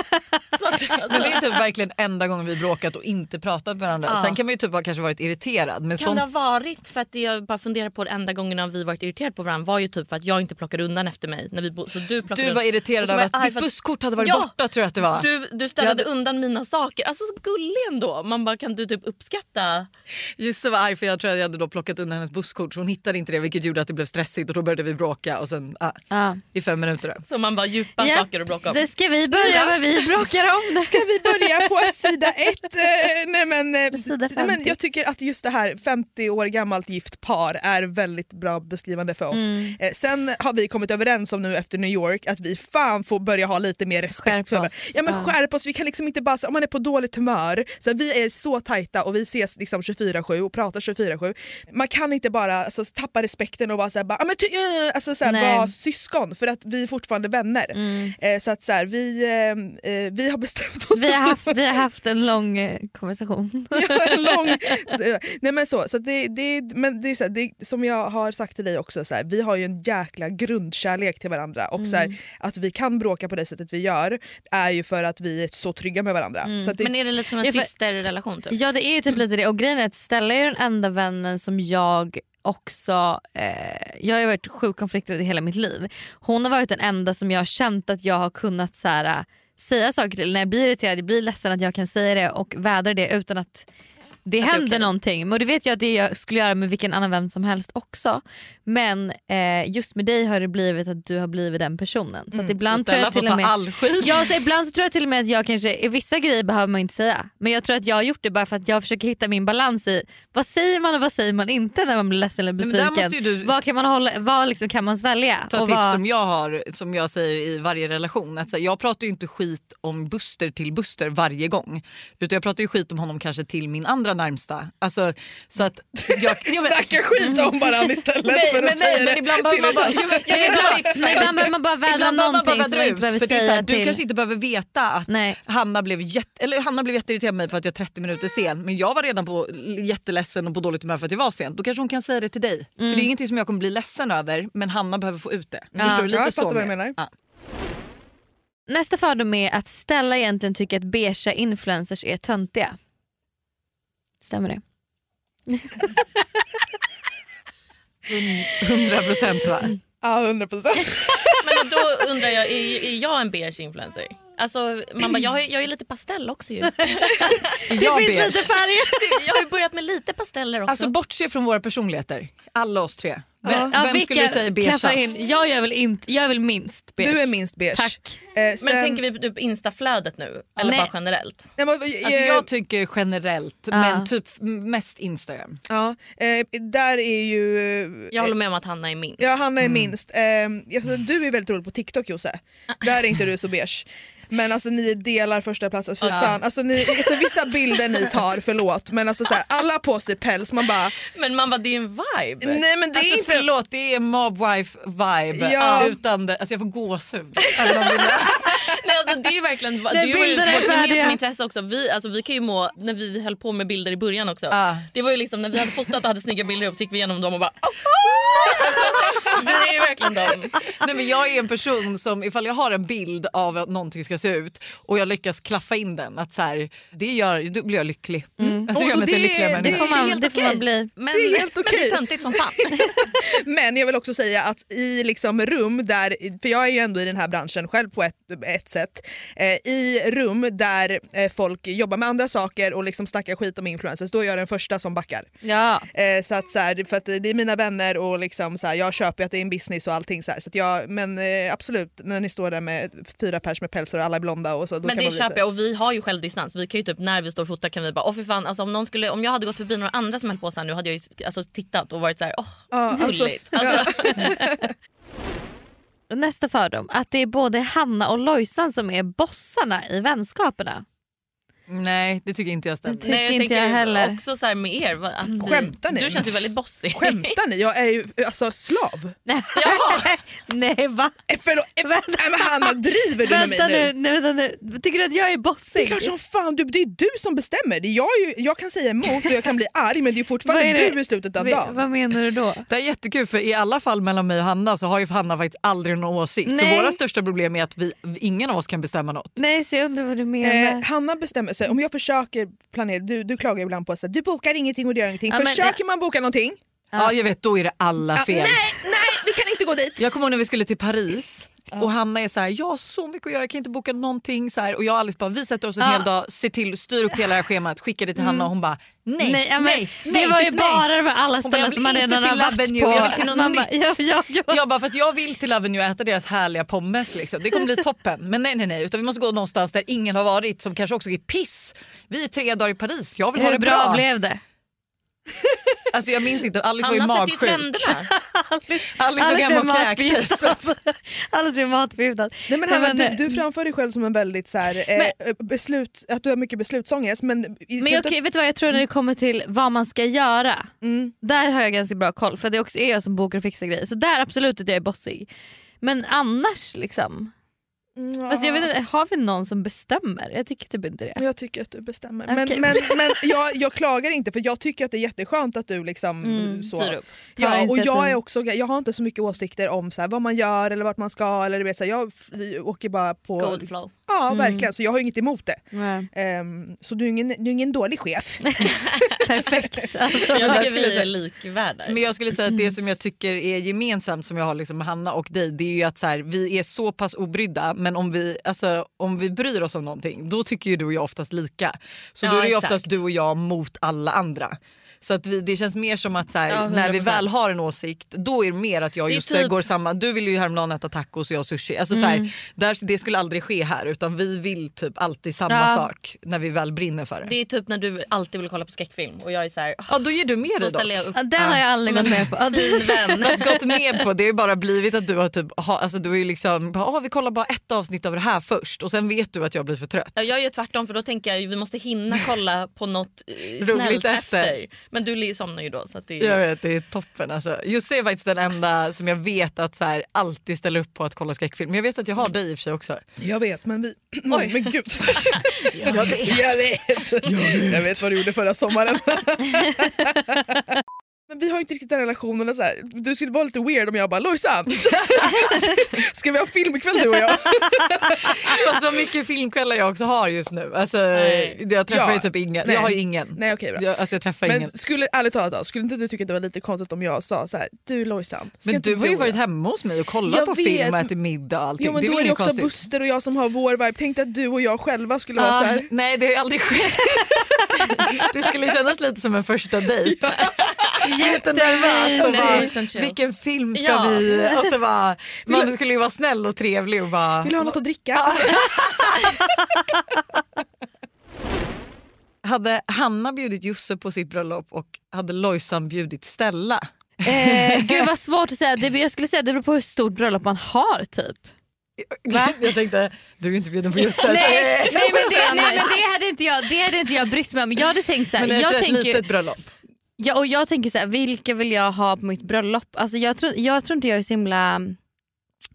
Speaker 3: så att, alltså,
Speaker 2: Men det är typ verkligen enda gången vi bråkat och inte pratat med varandra.
Speaker 3: Ja.
Speaker 2: Sen kan man ju typ ha kanske varit irriterad. Men
Speaker 3: kan
Speaker 2: sånt,
Speaker 3: det ha varit, för att det jag bara funderar på det enda gångerna vi varit irriterade på varandra var ju typ för att jag inte plockade undan efter mig. När vi bo- så du, plockade
Speaker 2: du var
Speaker 3: undan-
Speaker 2: irriterad
Speaker 3: Och så
Speaker 2: över
Speaker 3: var jag
Speaker 2: att
Speaker 3: arg
Speaker 2: ditt
Speaker 3: för
Speaker 2: busskort hade varit
Speaker 3: Ja!
Speaker 2: borta tror jag att det var.
Speaker 3: Du, du städade
Speaker 2: Jag
Speaker 3: undan mina saker. Alltså så gullig ändå. Man bara kan du typ uppskatta?
Speaker 2: Just det var arg för jag tror att jag hade då plockat undan hennes busskort så hon hittade inte det vilket gjorde att det blev stressigt och då började vi bråka och sen ah,
Speaker 1: Ja.
Speaker 2: i fem minuter. då.
Speaker 3: Så man bara djupa
Speaker 1: Ja,
Speaker 3: saker att bråka om.
Speaker 1: Det ska vi börja med, vi bråkar om
Speaker 3: (laughs)
Speaker 1: det.
Speaker 4: Ska vi börja på sida ett? Eh, nej men, eh,
Speaker 1: Sida
Speaker 4: nej men
Speaker 1: 50.
Speaker 4: jag tycker att just det här 50 år gammalt gift par är väldigt bra beskrivande för oss.
Speaker 1: Mm.
Speaker 4: Eh, sen har vi kommit överens om nu efter New York att vi fan får börja ha lite mer respekt
Speaker 1: Skärpa
Speaker 4: för varandra.
Speaker 1: oss.
Speaker 4: Ja, men
Speaker 1: Ja.
Speaker 4: skärp oss, vi kan liksom inte bara säga om man är på dåligt humör. Så här, vi är så tajta och vi ses liksom 24-7 och pratar 24-7. Man kan inte bara alltså, tappa respekten och bara säga bara, "Ah, men ty- eh", alltså, så här,
Speaker 1: Nej. Mm.
Speaker 4: vara syskon för att vi är fortfarande vänner. Eh, så att så här, vi, eh, eh, (laughs) vi har bestämt oss
Speaker 1: Vi
Speaker 2: (laughs)
Speaker 1: har haft, vi har haft en lång eh, konversation.
Speaker 4: Ja, en lång... (laughs) Nej men så, så att det, det, men det är så här, det, som jag har sagt till dig också, så här, vi har ju en jäkla grundkärlek till varandra och så
Speaker 2: Mm.
Speaker 4: här, att vi kan bråka på det sättet vi gör är ju för att vi är så trygga med varandra.
Speaker 2: Mm.
Speaker 4: Så att det,
Speaker 3: Men är det lite som en
Speaker 1: Ja, för-
Speaker 3: systerrelation? Typ?
Speaker 1: Ja det är ju typ lite det och grejen är att Stella är den enda vännen som jag också, eh, jag har ju varit sjukt konflikträdd i hela mitt liv. Hon har varit den enda som jag har känt att jag har kunnat så här, äh, säga saker till. När jag blir irriterad, jag blir ledsen att jag kan säga det och vädra det utan att det händer någonting. Men det vet jag att det jag skulle göra med vilken annan vän som helst också. Men eh, just med dig har det blivit att du har blivit den personen. Så att ibland
Speaker 2: Mm, Så
Speaker 1: tror
Speaker 2: Stella
Speaker 1: jag
Speaker 2: får
Speaker 1: till och
Speaker 2: ta
Speaker 1: med...
Speaker 2: all skit.
Speaker 1: Ja, så ibland så tror jag till och med att jag kanske, i vissa grejer behöver man inte säga. Men jag tror att jag har gjort det bara för att jag försöker hitta min balans i vad säger man och vad säger man inte när man blir ledsen eller
Speaker 2: Nej, men där
Speaker 1: besviken.
Speaker 2: måste ju du-
Speaker 1: Vad kan man, hålla, vad liksom kan man svälja?
Speaker 2: ta
Speaker 1: och
Speaker 2: tips
Speaker 1: vad... (laughs)
Speaker 2: som jag har som jag säger i varje relation. Att så här, jag pratar ju inte skit om Buster till Buster varje gång. Utan jag pratar ju skit om honom kanske till min andra närmsta. Alltså, så att jag, jag men,
Speaker 4: Snacka skit om varandra istället
Speaker 2: Mm. Nej,
Speaker 4: för
Speaker 2: men
Speaker 4: att säga
Speaker 2: nej, men ibland
Speaker 4: det
Speaker 2: behöver man bara... Jo,
Speaker 4: till-
Speaker 2: (laughs) men-
Speaker 1: Men ibland- men ibland behöver man bara vädra
Speaker 2: Ibland behöver man bara
Speaker 1: någonting som
Speaker 2: vädra
Speaker 1: man
Speaker 2: ut,
Speaker 1: inte behöver
Speaker 2: för det är så här,
Speaker 1: säga
Speaker 2: Du
Speaker 1: till.
Speaker 2: kanske inte behöver veta att
Speaker 1: Nej.
Speaker 2: Hanna blev, jätte, eller Hanna blev jätteirriterad på mig för att jag är 30 minuter sen men jag var redan på jätteledsen och på dåligt humör för att jag var sen. Då kanske hon kan säga det till dig. För det är ingenting som jag kommer bli ledsen över men Hanna behöver få ut det. Förstår du?
Speaker 4: Mm. Ja,
Speaker 2: Lite
Speaker 4: jag
Speaker 2: så
Speaker 4: fattar vad du
Speaker 2: mer.
Speaker 4: menar.
Speaker 2: Ja.
Speaker 1: Nästa fördom är att Stella egentligen tycker att beigea influencers är töntiga. Stämmer det?
Speaker 2: 100 procent
Speaker 4: (laughs)
Speaker 2: va?
Speaker 4: Ja, 100 procent.
Speaker 3: Men då undrar jag, är, är jag en beige influencer? Alltså, man bara, jag, har- jag är lite pastell också ju.
Speaker 2: (laughs) Jag ber.
Speaker 3: Det- Jag har ju börjat med lite pasteller också.
Speaker 2: Alltså bortse från våra personligheter, alla oss tre. Vem,
Speaker 1: Ja,
Speaker 2: vem skulle
Speaker 1: vilka
Speaker 2: du säga är beigeast?
Speaker 1: klaffar in? Jag är väl, inte, jag är väl minst beige.
Speaker 4: Du är minst beige.
Speaker 1: Tack.
Speaker 4: Eh, sen,
Speaker 3: men tänker vi typ instaflödet nu? Eller
Speaker 1: Nej.
Speaker 3: bara generellt?
Speaker 4: Nej, men,
Speaker 2: Alltså,
Speaker 4: eh,
Speaker 2: jag tycker generellt, men typ mest Instagram.
Speaker 4: ja, eh, där är ju... eh,
Speaker 3: Jag håller med om att Hanna är minst.
Speaker 4: Ja, Hanna är
Speaker 2: Mm.
Speaker 4: minst. Ehm, alltså, du är väldigt rolig på TikTok Jose. Där är inte du så beige. Men alltså ni delar första platsen. Fy fan. Alltså, ni, alltså, vissa bilder ni tar, förlåt. Men alltså, så här, alla har på sig päls. Man bara,
Speaker 3: Men man bara, det är en vibe.
Speaker 4: nej men det är
Speaker 2: alltså,
Speaker 4: inte...
Speaker 2: Förlåt, det är mobwife-vibe.
Speaker 4: Ja.
Speaker 2: Utan det, alltså, jag får
Speaker 4: (laughs)
Speaker 2: gåshud. Även om det är-
Speaker 3: Nej, alltså, det är ju verkligen det är ju
Speaker 1: bilden är
Speaker 3: vårt gemensamma
Speaker 1: färdiga.
Speaker 3: intresse också. Vi, alltså, vi kan ju må, när vi höll på med bilder i början också.
Speaker 2: Ja.
Speaker 3: Det var ju liksom när vi hade fotat och hade snygga bilder upp gick vi igenom dem och bara
Speaker 1: (laughs)
Speaker 3: alltså, Vi är ju verkligen dem.
Speaker 2: Nej, men jag är en person som ifall jag har en bild av att någonting ska se ut och jag lyckas klaffa in den, att så här, det gör, då blir jag lycklig. Alltså, jag gör mig till en
Speaker 4: det-
Speaker 2: lyckligare
Speaker 4: det
Speaker 1: Det
Speaker 2: människa.
Speaker 1: får man, det får man bli.
Speaker 2: Men,
Speaker 4: det är helt okej.
Speaker 2: Men det är töntigt som
Speaker 4: (laughs)
Speaker 2: fan.
Speaker 4: Men jag vill också säga att i liksom rum där, för jag är ju ändå i den här branschen själv på ett, ett sätt, eh, i rum där eh, folk jobbar med andra saker och liksom snackar skit om influencers, då är jag den första som backar.
Speaker 1: Ja.
Speaker 4: Eh, så att, så här, för att det är mina vänner och liksom, så här, jag köper ju att det är en business och allting. Så här, så att jag, men eh, absolut, när ni står där med fyra pers med pälsar och alla är blonda. Och så, då
Speaker 3: Men
Speaker 4: kan
Speaker 3: det
Speaker 4: man bli så här-
Speaker 3: köper jag och vi har ju självdistans. Vi kan ju typ när vi står och fotar kan vi bara åh fy fan alltså, om, någon skulle, om jag hade gått förbi några andra som höll på så här nu hade jag ju alltså, tittat och varit så här åh
Speaker 4: Ja, alltså,
Speaker 3: gulligt.
Speaker 4: ja.
Speaker 3: Alltså,
Speaker 1: Och Nästa fördom, att det är både Hanna och Lojsan som är bossarna i vänskaperna.
Speaker 2: Nej, det tycker inte jag stämmer.
Speaker 1: Tycker inte jag heller.
Speaker 3: också så här med er. va, Att ni,
Speaker 4: Skämtar ni?
Speaker 3: Du känns ju väldigt bossig.
Speaker 4: Skämtar ni? Jag är ju alltså slav.
Speaker 1: (laughs) Nej va?
Speaker 4: Eh, Förlåt, eh,
Speaker 1: Vänta.
Speaker 4: nej, men Hanna driver du med
Speaker 1: Vänta nu,
Speaker 4: mig nu?
Speaker 1: nej, vänta nu, tycker du att jag är
Speaker 4: Det är
Speaker 1: bossig?
Speaker 4: klart som fan, du, det är du som bestämmer. Det är jag, är ju, jag kan säga emot och jag kan bli arg men det är
Speaker 1: Vad
Speaker 4: fortfarande
Speaker 1: är det?
Speaker 4: du i slutet av
Speaker 1: Vi-
Speaker 4: dagen.
Speaker 1: Vad menar du då?
Speaker 2: Det är jättekul för i alla fall mellan mig och Hanna så har ju Hanna faktiskt aldrig någon åsikt.
Speaker 1: Nej.
Speaker 2: Så våra största problem är att vi, ingen av oss kan bestämma något.
Speaker 1: Nej så jag undrar vad du menar.
Speaker 4: Eh, Hanna bestämmer sig, om jag försöker planera, du, du klagar ibland på att du bokar ingenting och du gör ingenting.
Speaker 1: Ja, men-
Speaker 4: försöker man boka någonting,
Speaker 2: Ja, jag vet, då är det alla
Speaker 4: ah, nej,
Speaker 2: fel.
Speaker 4: nej vi kan inte gå dit.
Speaker 2: Jag kommer ihåg när vi skulle till Paris och Hanna är så här, jag har så mycket att göra, jag kan inte boka någonting. Så här. Och jag och Alice bara, vi sätter oss en hel dag, ser till, styr upp hela det här schemat, skickar det till Hanna och hon bara, nej,
Speaker 1: Nej, ja, men
Speaker 2: nej,
Speaker 1: det
Speaker 2: nej,
Speaker 1: var ju
Speaker 2: nej.
Speaker 1: bara de här alla
Speaker 2: Hon bara,
Speaker 1: ställen som man
Speaker 2: jag vill
Speaker 1: redan
Speaker 2: inte
Speaker 1: har
Speaker 2: till
Speaker 1: varit på.
Speaker 2: Avenue,
Speaker 1: Alltså,
Speaker 2: jag vill till något
Speaker 1: Man bara,
Speaker 2: nytt.
Speaker 1: ja, ja, ja.
Speaker 2: Jag bara, fast jag vill till Avenue och äta deras härliga pommes. Liksom. Det kommer bli toppen. Men nej, nej, nej. Utan vi måste gå någonstans där ingen har varit som kanske också är piss. Vi är tre dagar i Paris. Jag vill ha
Speaker 1: Hur
Speaker 2: det
Speaker 1: bra,
Speaker 2: bra.
Speaker 1: blev det?
Speaker 2: Alltså, jag minns inte. Alice var ju
Speaker 3: Hanna sätter ju
Speaker 2: magsjuk. (laughs)
Speaker 3: trenderna.
Speaker 2: Alice var
Speaker 1: blev
Speaker 2: gammal
Speaker 1: matbjudad.
Speaker 2: kräktes.
Speaker 1: (laughs) Alice blev matbjudad.
Speaker 4: Nej, men Hanna,
Speaker 1: Men, eh,
Speaker 4: du, du framför dig själv som en väldigt så här, eh, beslut, att du har mycket beslutsångest men, i
Speaker 1: Men
Speaker 4: slutet-
Speaker 1: okej, vet du vad jag Mm. tror när det kommer till vad man ska göra. Där har jag ganska bra koll för det också är jag som bokar och fixar grejer. Så där absolut att jag är bossig. Men annars liksom. Alltså, jag vet inte, har vi någon som bestämmer? Jag tycker typ inte det.
Speaker 4: Jag tycker att du bestämmer.
Speaker 1: Okej.
Speaker 4: Men, men, men jag, jag klagar inte för jag tycker att det är jätteskönt att du liksom...
Speaker 1: Mm,
Speaker 4: så.
Speaker 3: Styr upp.
Speaker 4: Ja, och jag,
Speaker 1: initiativ.
Speaker 4: är också, jag har inte så mycket åsikter om så här, vad man gör eller vart man ska. Eller, du vet, så här, jag f- åker bara på...
Speaker 3: Gold flow.
Speaker 4: Ja,
Speaker 2: Mm.
Speaker 4: verkligen. Så jag har ju inget emot det. Ehm, så du är, ingen, du är ingen
Speaker 2: (laughs)
Speaker 4: dålig chef.
Speaker 1: (laughs) Perfekt. Alltså,
Speaker 3: Jag tycker
Speaker 2: skulle
Speaker 3: vi är likvärda.
Speaker 2: Men jag skulle säga att
Speaker 3: Mm.
Speaker 2: det som jag tycker är gemensamt som jag har liksom med Hanna och dig det är ju att så här, vi är så pass obrydda men om vi, alltså, om vi bryr oss om någonting då tycker ju du och jag oftast lika. Så
Speaker 3: Ja,
Speaker 2: då är det ju
Speaker 3: exakt.
Speaker 2: oftast du och jag mot alla andra. Så att vi, det känns mer som att så här,
Speaker 3: Ja, 100%.
Speaker 2: när vi väl har en åsikt då är det mer att jag och
Speaker 3: Det är
Speaker 2: Josse
Speaker 3: typ- Mm.
Speaker 2: går samma. Du vill ju häromdagen äta tacos och jag sushi. Alltså, så här, där, det skulle aldrig ske här utan vi vill typ alltid samma
Speaker 1: Ja.
Speaker 2: sak när vi väl brinner för det.
Speaker 3: Det är typ när du alltid vill kolla på skräckfilm och jag är så här,
Speaker 2: Ja, då ger du med
Speaker 3: då
Speaker 2: dig dock.
Speaker 3: ställer jag upp.
Speaker 1: Ja, Den har jag aldrig gått med på. Ja, det-
Speaker 3: Fin
Speaker 2: (laughs)
Speaker 3: vän.
Speaker 2: Fast gått med på det har ju bara blivit att du har typ, ha, alltså du är ju liksom, bara, ah, vi kollar bara ett avsnitt av det här först och sen vet du att jag blir för trött.
Speaker 3: Ja, jag gör tvärtom för då tänker jag ju, vi måste hinna kolla på något eh,
Speaker 2: Roligt
Speaker 3: snällt
Speaker 2: efter.
Speaker 3: efter. Men du li- somnar ju då. Så att det,
Speaker 2: Jag vet, det är toppen alltså. Jussi är faktiskt den enda som jag vet att så här, alltid ställer upp på att kolla skräckfilm. Men jag vet att jag har dig i och för sig också.
Speaker 4: Jag vet men vi... (clears throat) Oj men
Speaker 2: (laughs)
Speaker 4: gud. jag, vet. Jag, vet. jag vet vad du gjorde förra sommaren. (laughs) Men vi har ju inte riktigt den relationen. och Så här. Du skulle vara lite weird om jag bara “Lojsan, (laughs) ska vi ha filmkväll du och jag?”
Speaker 2: Fast så mycket filmkvällar jag också har just nu. Alltså,
Speaker 3: Nej.
Speaker 2: (laughs) jag träffar
Speaker 4: Ja.
Speaker 2: ju typ ingen.
Speaker 4: Nej.
Speaker 2: Jag har ju ingen.
Speaker 4: Nej okej bra.
Speaker 2: Jag, alltså jag träffar
Speaker 4: Men
Speaker 2: ingen.
Speaker 4: skulle, ärligt talat, då, skulle inte du tycka att det var lite konstigt om jag sa så här, “Du Lojsan, ska
Speaker 2: Men
Speaker 4: inte
Speaker 2: du har ju
Speaker 4: och
Speaker 2: varit
Speaker 4: jag-"
Speaker 2: hemma hos mig och kollat
Speaker 4: Jag
Speaker 2: på
Speaker 4: vet.
Speaker 2: film och ätit middag och allting.
Speaker 4: Jo men
Speaker 2: det
Speaker 4: då
Speaker 2: väl
Speaker 4: är det
Speaker 2: inget
Speaker 4: också
Speaker 2: konstigt.
Speaker 4: Buster och jag som har vår vibe. Tänk dig att du och jag själva skulle vara
Speaker 2: Ah,
Speaker 4: så här.
Speaker 2: Nej det har ju aldrig skett. (laughs) det skulle kännas lite som en första dejt. Jättenervös och
Speaker 3: Netflix
Speaker 2: bara,
Speaker 3: and
Speaker 2: Alltså,
Speaker 3: chill.
Speaker 2: vilken film ska
Speaker 3: Ja.
Speaker 2: vi... Och så bara, man skulle ju vara snäll och trevlig och bara...
Speaker 4: “Vill du ha något att dricka?” alltså,
Speaker 2: Hade Hanna bjudit Josse på sitt bröllop och hade Lojsan bjudit Stella?
Speaker 1: Eh, gud (laughs) vad svårt att säga. Det, jag skulle säga att det beror på hur stort bröllop man har typ.
Speaker 2: Jag tänkte, du är ju inte bjuden på Josse. (laughs)
Speaker 1: Nej, nej, men, det, nej men det hade inte jag, det hade inte jag brytt mig om. Jag hade tänkt så här,
Speaker 2: Men det är ett
Speaker 1: jag
Speaker 2: rätt
Speaker 1: tänker,
Speaker 2: litet bröllop.
Speaker 1: ja, och jag tänker så här, vilka vill jag ha på mitt bröllop? Alltså jag tror, jag tror inte jag är så himla...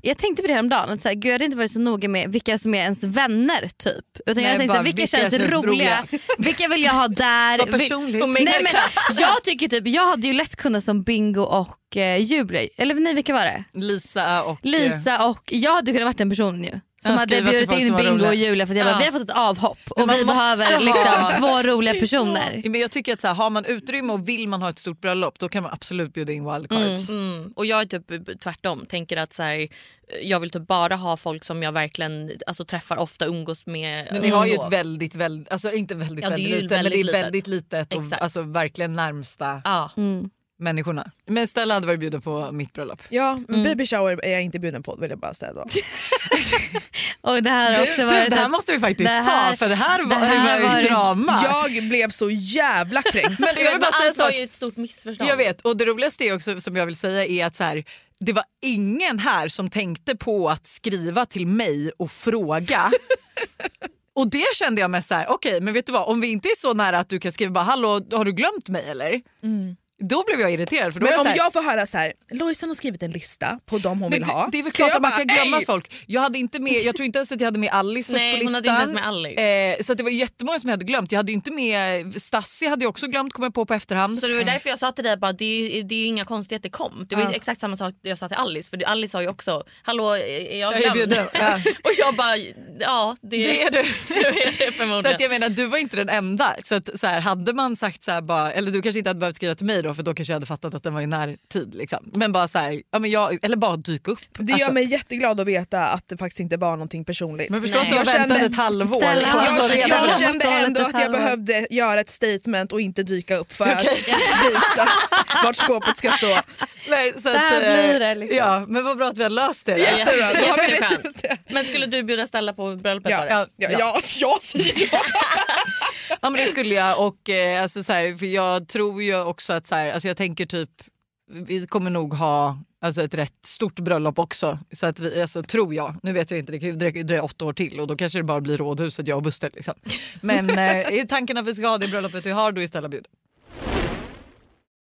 Speaker 1: Jag tänkte på det häromdagen, att så här, gud, jag hade inte varit så noga med vilka som är ens vänner typ. Utan
Speaker 2: Nej,
Speaker 1: jag tänkte så
Speaker 2: bara,
Speaker 1: här, vilka,
Speaker 2: vilka
Speaker 1: känns
Speaker 2: känns
Speaker 1: roliga, (laughs) vilka vill jag ha där?
Speaker 2: Vad
Speaker 1: Vi-
Speaker 2: personligt.
Speaker 1: Nej,
Speaker 2: (laughs)
Speaker 1: men, jag tycker typ, jag hade ju lätt kunnat som Bingo och eh, Julia, eller nej vilka var det?
Speaker 2: Lisa och...
Speaker 1: Lisa och jag hade kunnat varit den personen ju. Som
Speaker 2: Ja,
Speaker 1: hade
Speaker 2: skriva till
Speaker 1: bjudit
Speaker 2: folk som
Speaker 1: in
Speaker 2: var
Speaker 1: Bingo
Speaker 2: roliga.
Speaker 1: och Julia för att jag bara,
Speaker 3: Ja.
Speaker 1: vi har fått ett avhopp och
Speaker 2: man
Speaker 1: vi
Speaker 2: måste ha-
Speaker 1: behöver liksom två roliga personer.
Speaker 2: Ja, Men jag tycker att så här, har man utrymme och vill man ha ett stort bröllop då kan man absolut bjuda in wildcards.
Speaker 3: Mm. Och jag är typ tvärtom. Tänker att så här, jag vill typ bara ha folk som jag verkligen alltså, träffar ofta, umgås med.
Speaker 2: Men
Speaker 3: och
Speaker 2: ni har ju
Speaker 3: så.
Speaker 2: ett väldigt, väldigt, alltså inte väldigt,
Speaker 3: Ja, det är
Speaker 2: väldigt litet
Speaker 3: ju
Speaker 2: men det är väldigt
Speaker 3: väldigt
Speaker 2: litet och
Speaker 3: Exakt.
Speaker 2: alltså, verkligen närmsta
Speaker 3: Ja.
Speaker 2: Mm. människorna. Men Stella hade varit bjuden på mitt bröllop.
Speaker 4: Ja,
Speaker 2: (laughs)
Speaker 4: men
Speaker 2: Mm.
Speaker 4: baby shower är jag inte bjuden på vill jag bara säga då.
Speaker 1: Och det här har också
Speaker 2: Du, det
Speaker 1: varit
Speaker 2: här
Speaker 1: att-
Speaker 2: måste vi faktiskt
Speaker 1: det här-
Speaker 2: ta för det här var, det
Speaker 1: här
Speaker 2: var
Speaker 1: var-
Speaker 2: ju drama.
Speaker 4: Jag blev så jävla kränkt.
Speaker 2: men jag vill bara säga en
Speaker 3: allt var
Speaker 2: sak.
Speaker 3: ju ett stort missförstånd.
Speaker 2: Jag vet och det roligaste är också som jag vill säga är att så här, det var ingen här som tänkte på att skriva till mig och (laughs) fråga. och det kände jag mest så här, okej men vet du vad om vi inte är så nära att du kan skriva bara hallå har du glömt mig eller?
Speaker 3: Mm.
Speaker 2: Då blev jag irriterad för då var jag
Speaker 4: Men om
Speaker 2: så här,
Speaker 4: jag får höra så här, Lojsan har skrivit en lista på de hon
Speaker 2: Men
Speaker 4: vill
Speaker 2: det-
Speaker 4: ha.
Speaker 2: Det är väl
Speaker 4: Ska
Speaker 2: klart
Speaker 4: jag
Speaker 2: att man
Speaker 4: bara,
Speaker 2: kan glömma
Speaker 4: "Ey!"
Speaker 2: folk. Jag, hade inte med, jag tror inte ens att jag hade med Alice först
Speaker 3: Nej,
Speaker 2: på listan.
Speaker 3: hon hade inte ens med Alice.
Speaker 2: Eh, så att det var jättemånga som jag hade glömt. Jag hade ju inte med Stassi hade jag också glömt kom jag på på efterhand.
Speaker 3: Så det var ju därför jag sa till dig att det, är- det är ju inga konstigheter kom. Det var ju exakt samma sak jag sa till Alice. För Alice sa ju också “Hallå, är
Speaker 2: Jag
Speaker 3: jag
Speaker 2: är
Speaker 3: glömd?”
Speaker 2: bjuden, ja.
Speaker 3: (laughs) Och jag bara “Ja, det,
Speaker 2: Det är du.
Speaker 3: (laughs) det är det
Speaker 2: Så att
Speaker 3: förmodligen”.
Speaker 2: jag menar du var inte den enda. Så att, så här, hade man sagt så här bara, eller du kanske inte hade behövt skriva till mig då för då kanske jag hade fattat att den var i närtid. Liksom. Men bara så här, ja, men jag, eller bara dyka upp.
Speaker 4: Det gör
Speaker 2: Alltså,
Speaker 4: mig jätteglad att veta att det faktiskt inte var någonting personligt.
Speaker 2: men förstå
Speaker 3: Nej.
Speaker 2: att du har
Speaker 4: Jag kände-
Speaker 2: väntat ett halvår.
Speaker 1: Ställa-
Speaker 2: på
Speaker 1: Jag
Speaker 2: en sån
Speaker 4: jag,
Speaker 1: kände-
Speaker 2: resa.
Speaker 1: redan-
Speaker 4: jag kände
Speaker 1: Måste ha
Speaker 4: ändå
Speaker 1: lite
Speaker 4: att jag
Speaker 1: halva.
Speaker 4: behövde göra ett statement och inte dyka upp för att visa vart skåpet
Speaker 2: (laughs)
Speaker 4: ska stå.
Speaker 2: Nej, så
Speaker 1: Så här
Speaker 2: eh,
Speaker 1: blir det, liksom.
Speaker 2: Ja, men vad bra att vi har löst det.
Speaker 3: Ja,
Speaker 4: Jättebra, då har vi
Speaker 3: jätteskönt.
Speaker 4: rätt ut det.
Speaker 3: Men skulle du bjuda Stella på bröllopet
Speaker 4: Ja,
Speaker 3: var det?
Speaker 4: ja, ja, ja, jag säger ja.
Speaker 2: Ja men det skulle jag och eh, alltså, så här, för jag tror ju också att så här, alltså, jag tänker typ vi kommer nog ha alltså, ett rätt stort bröllop också. Så att vi, alltså, tror jag, nu vet jag inte, det kan ju drö- dröja åtta år till och då kanske det bara blir rådhuset jag och Buster. Liksom. Men eh, är tanken att vi ska ha det bröllopet vi har då är Stella bjuden.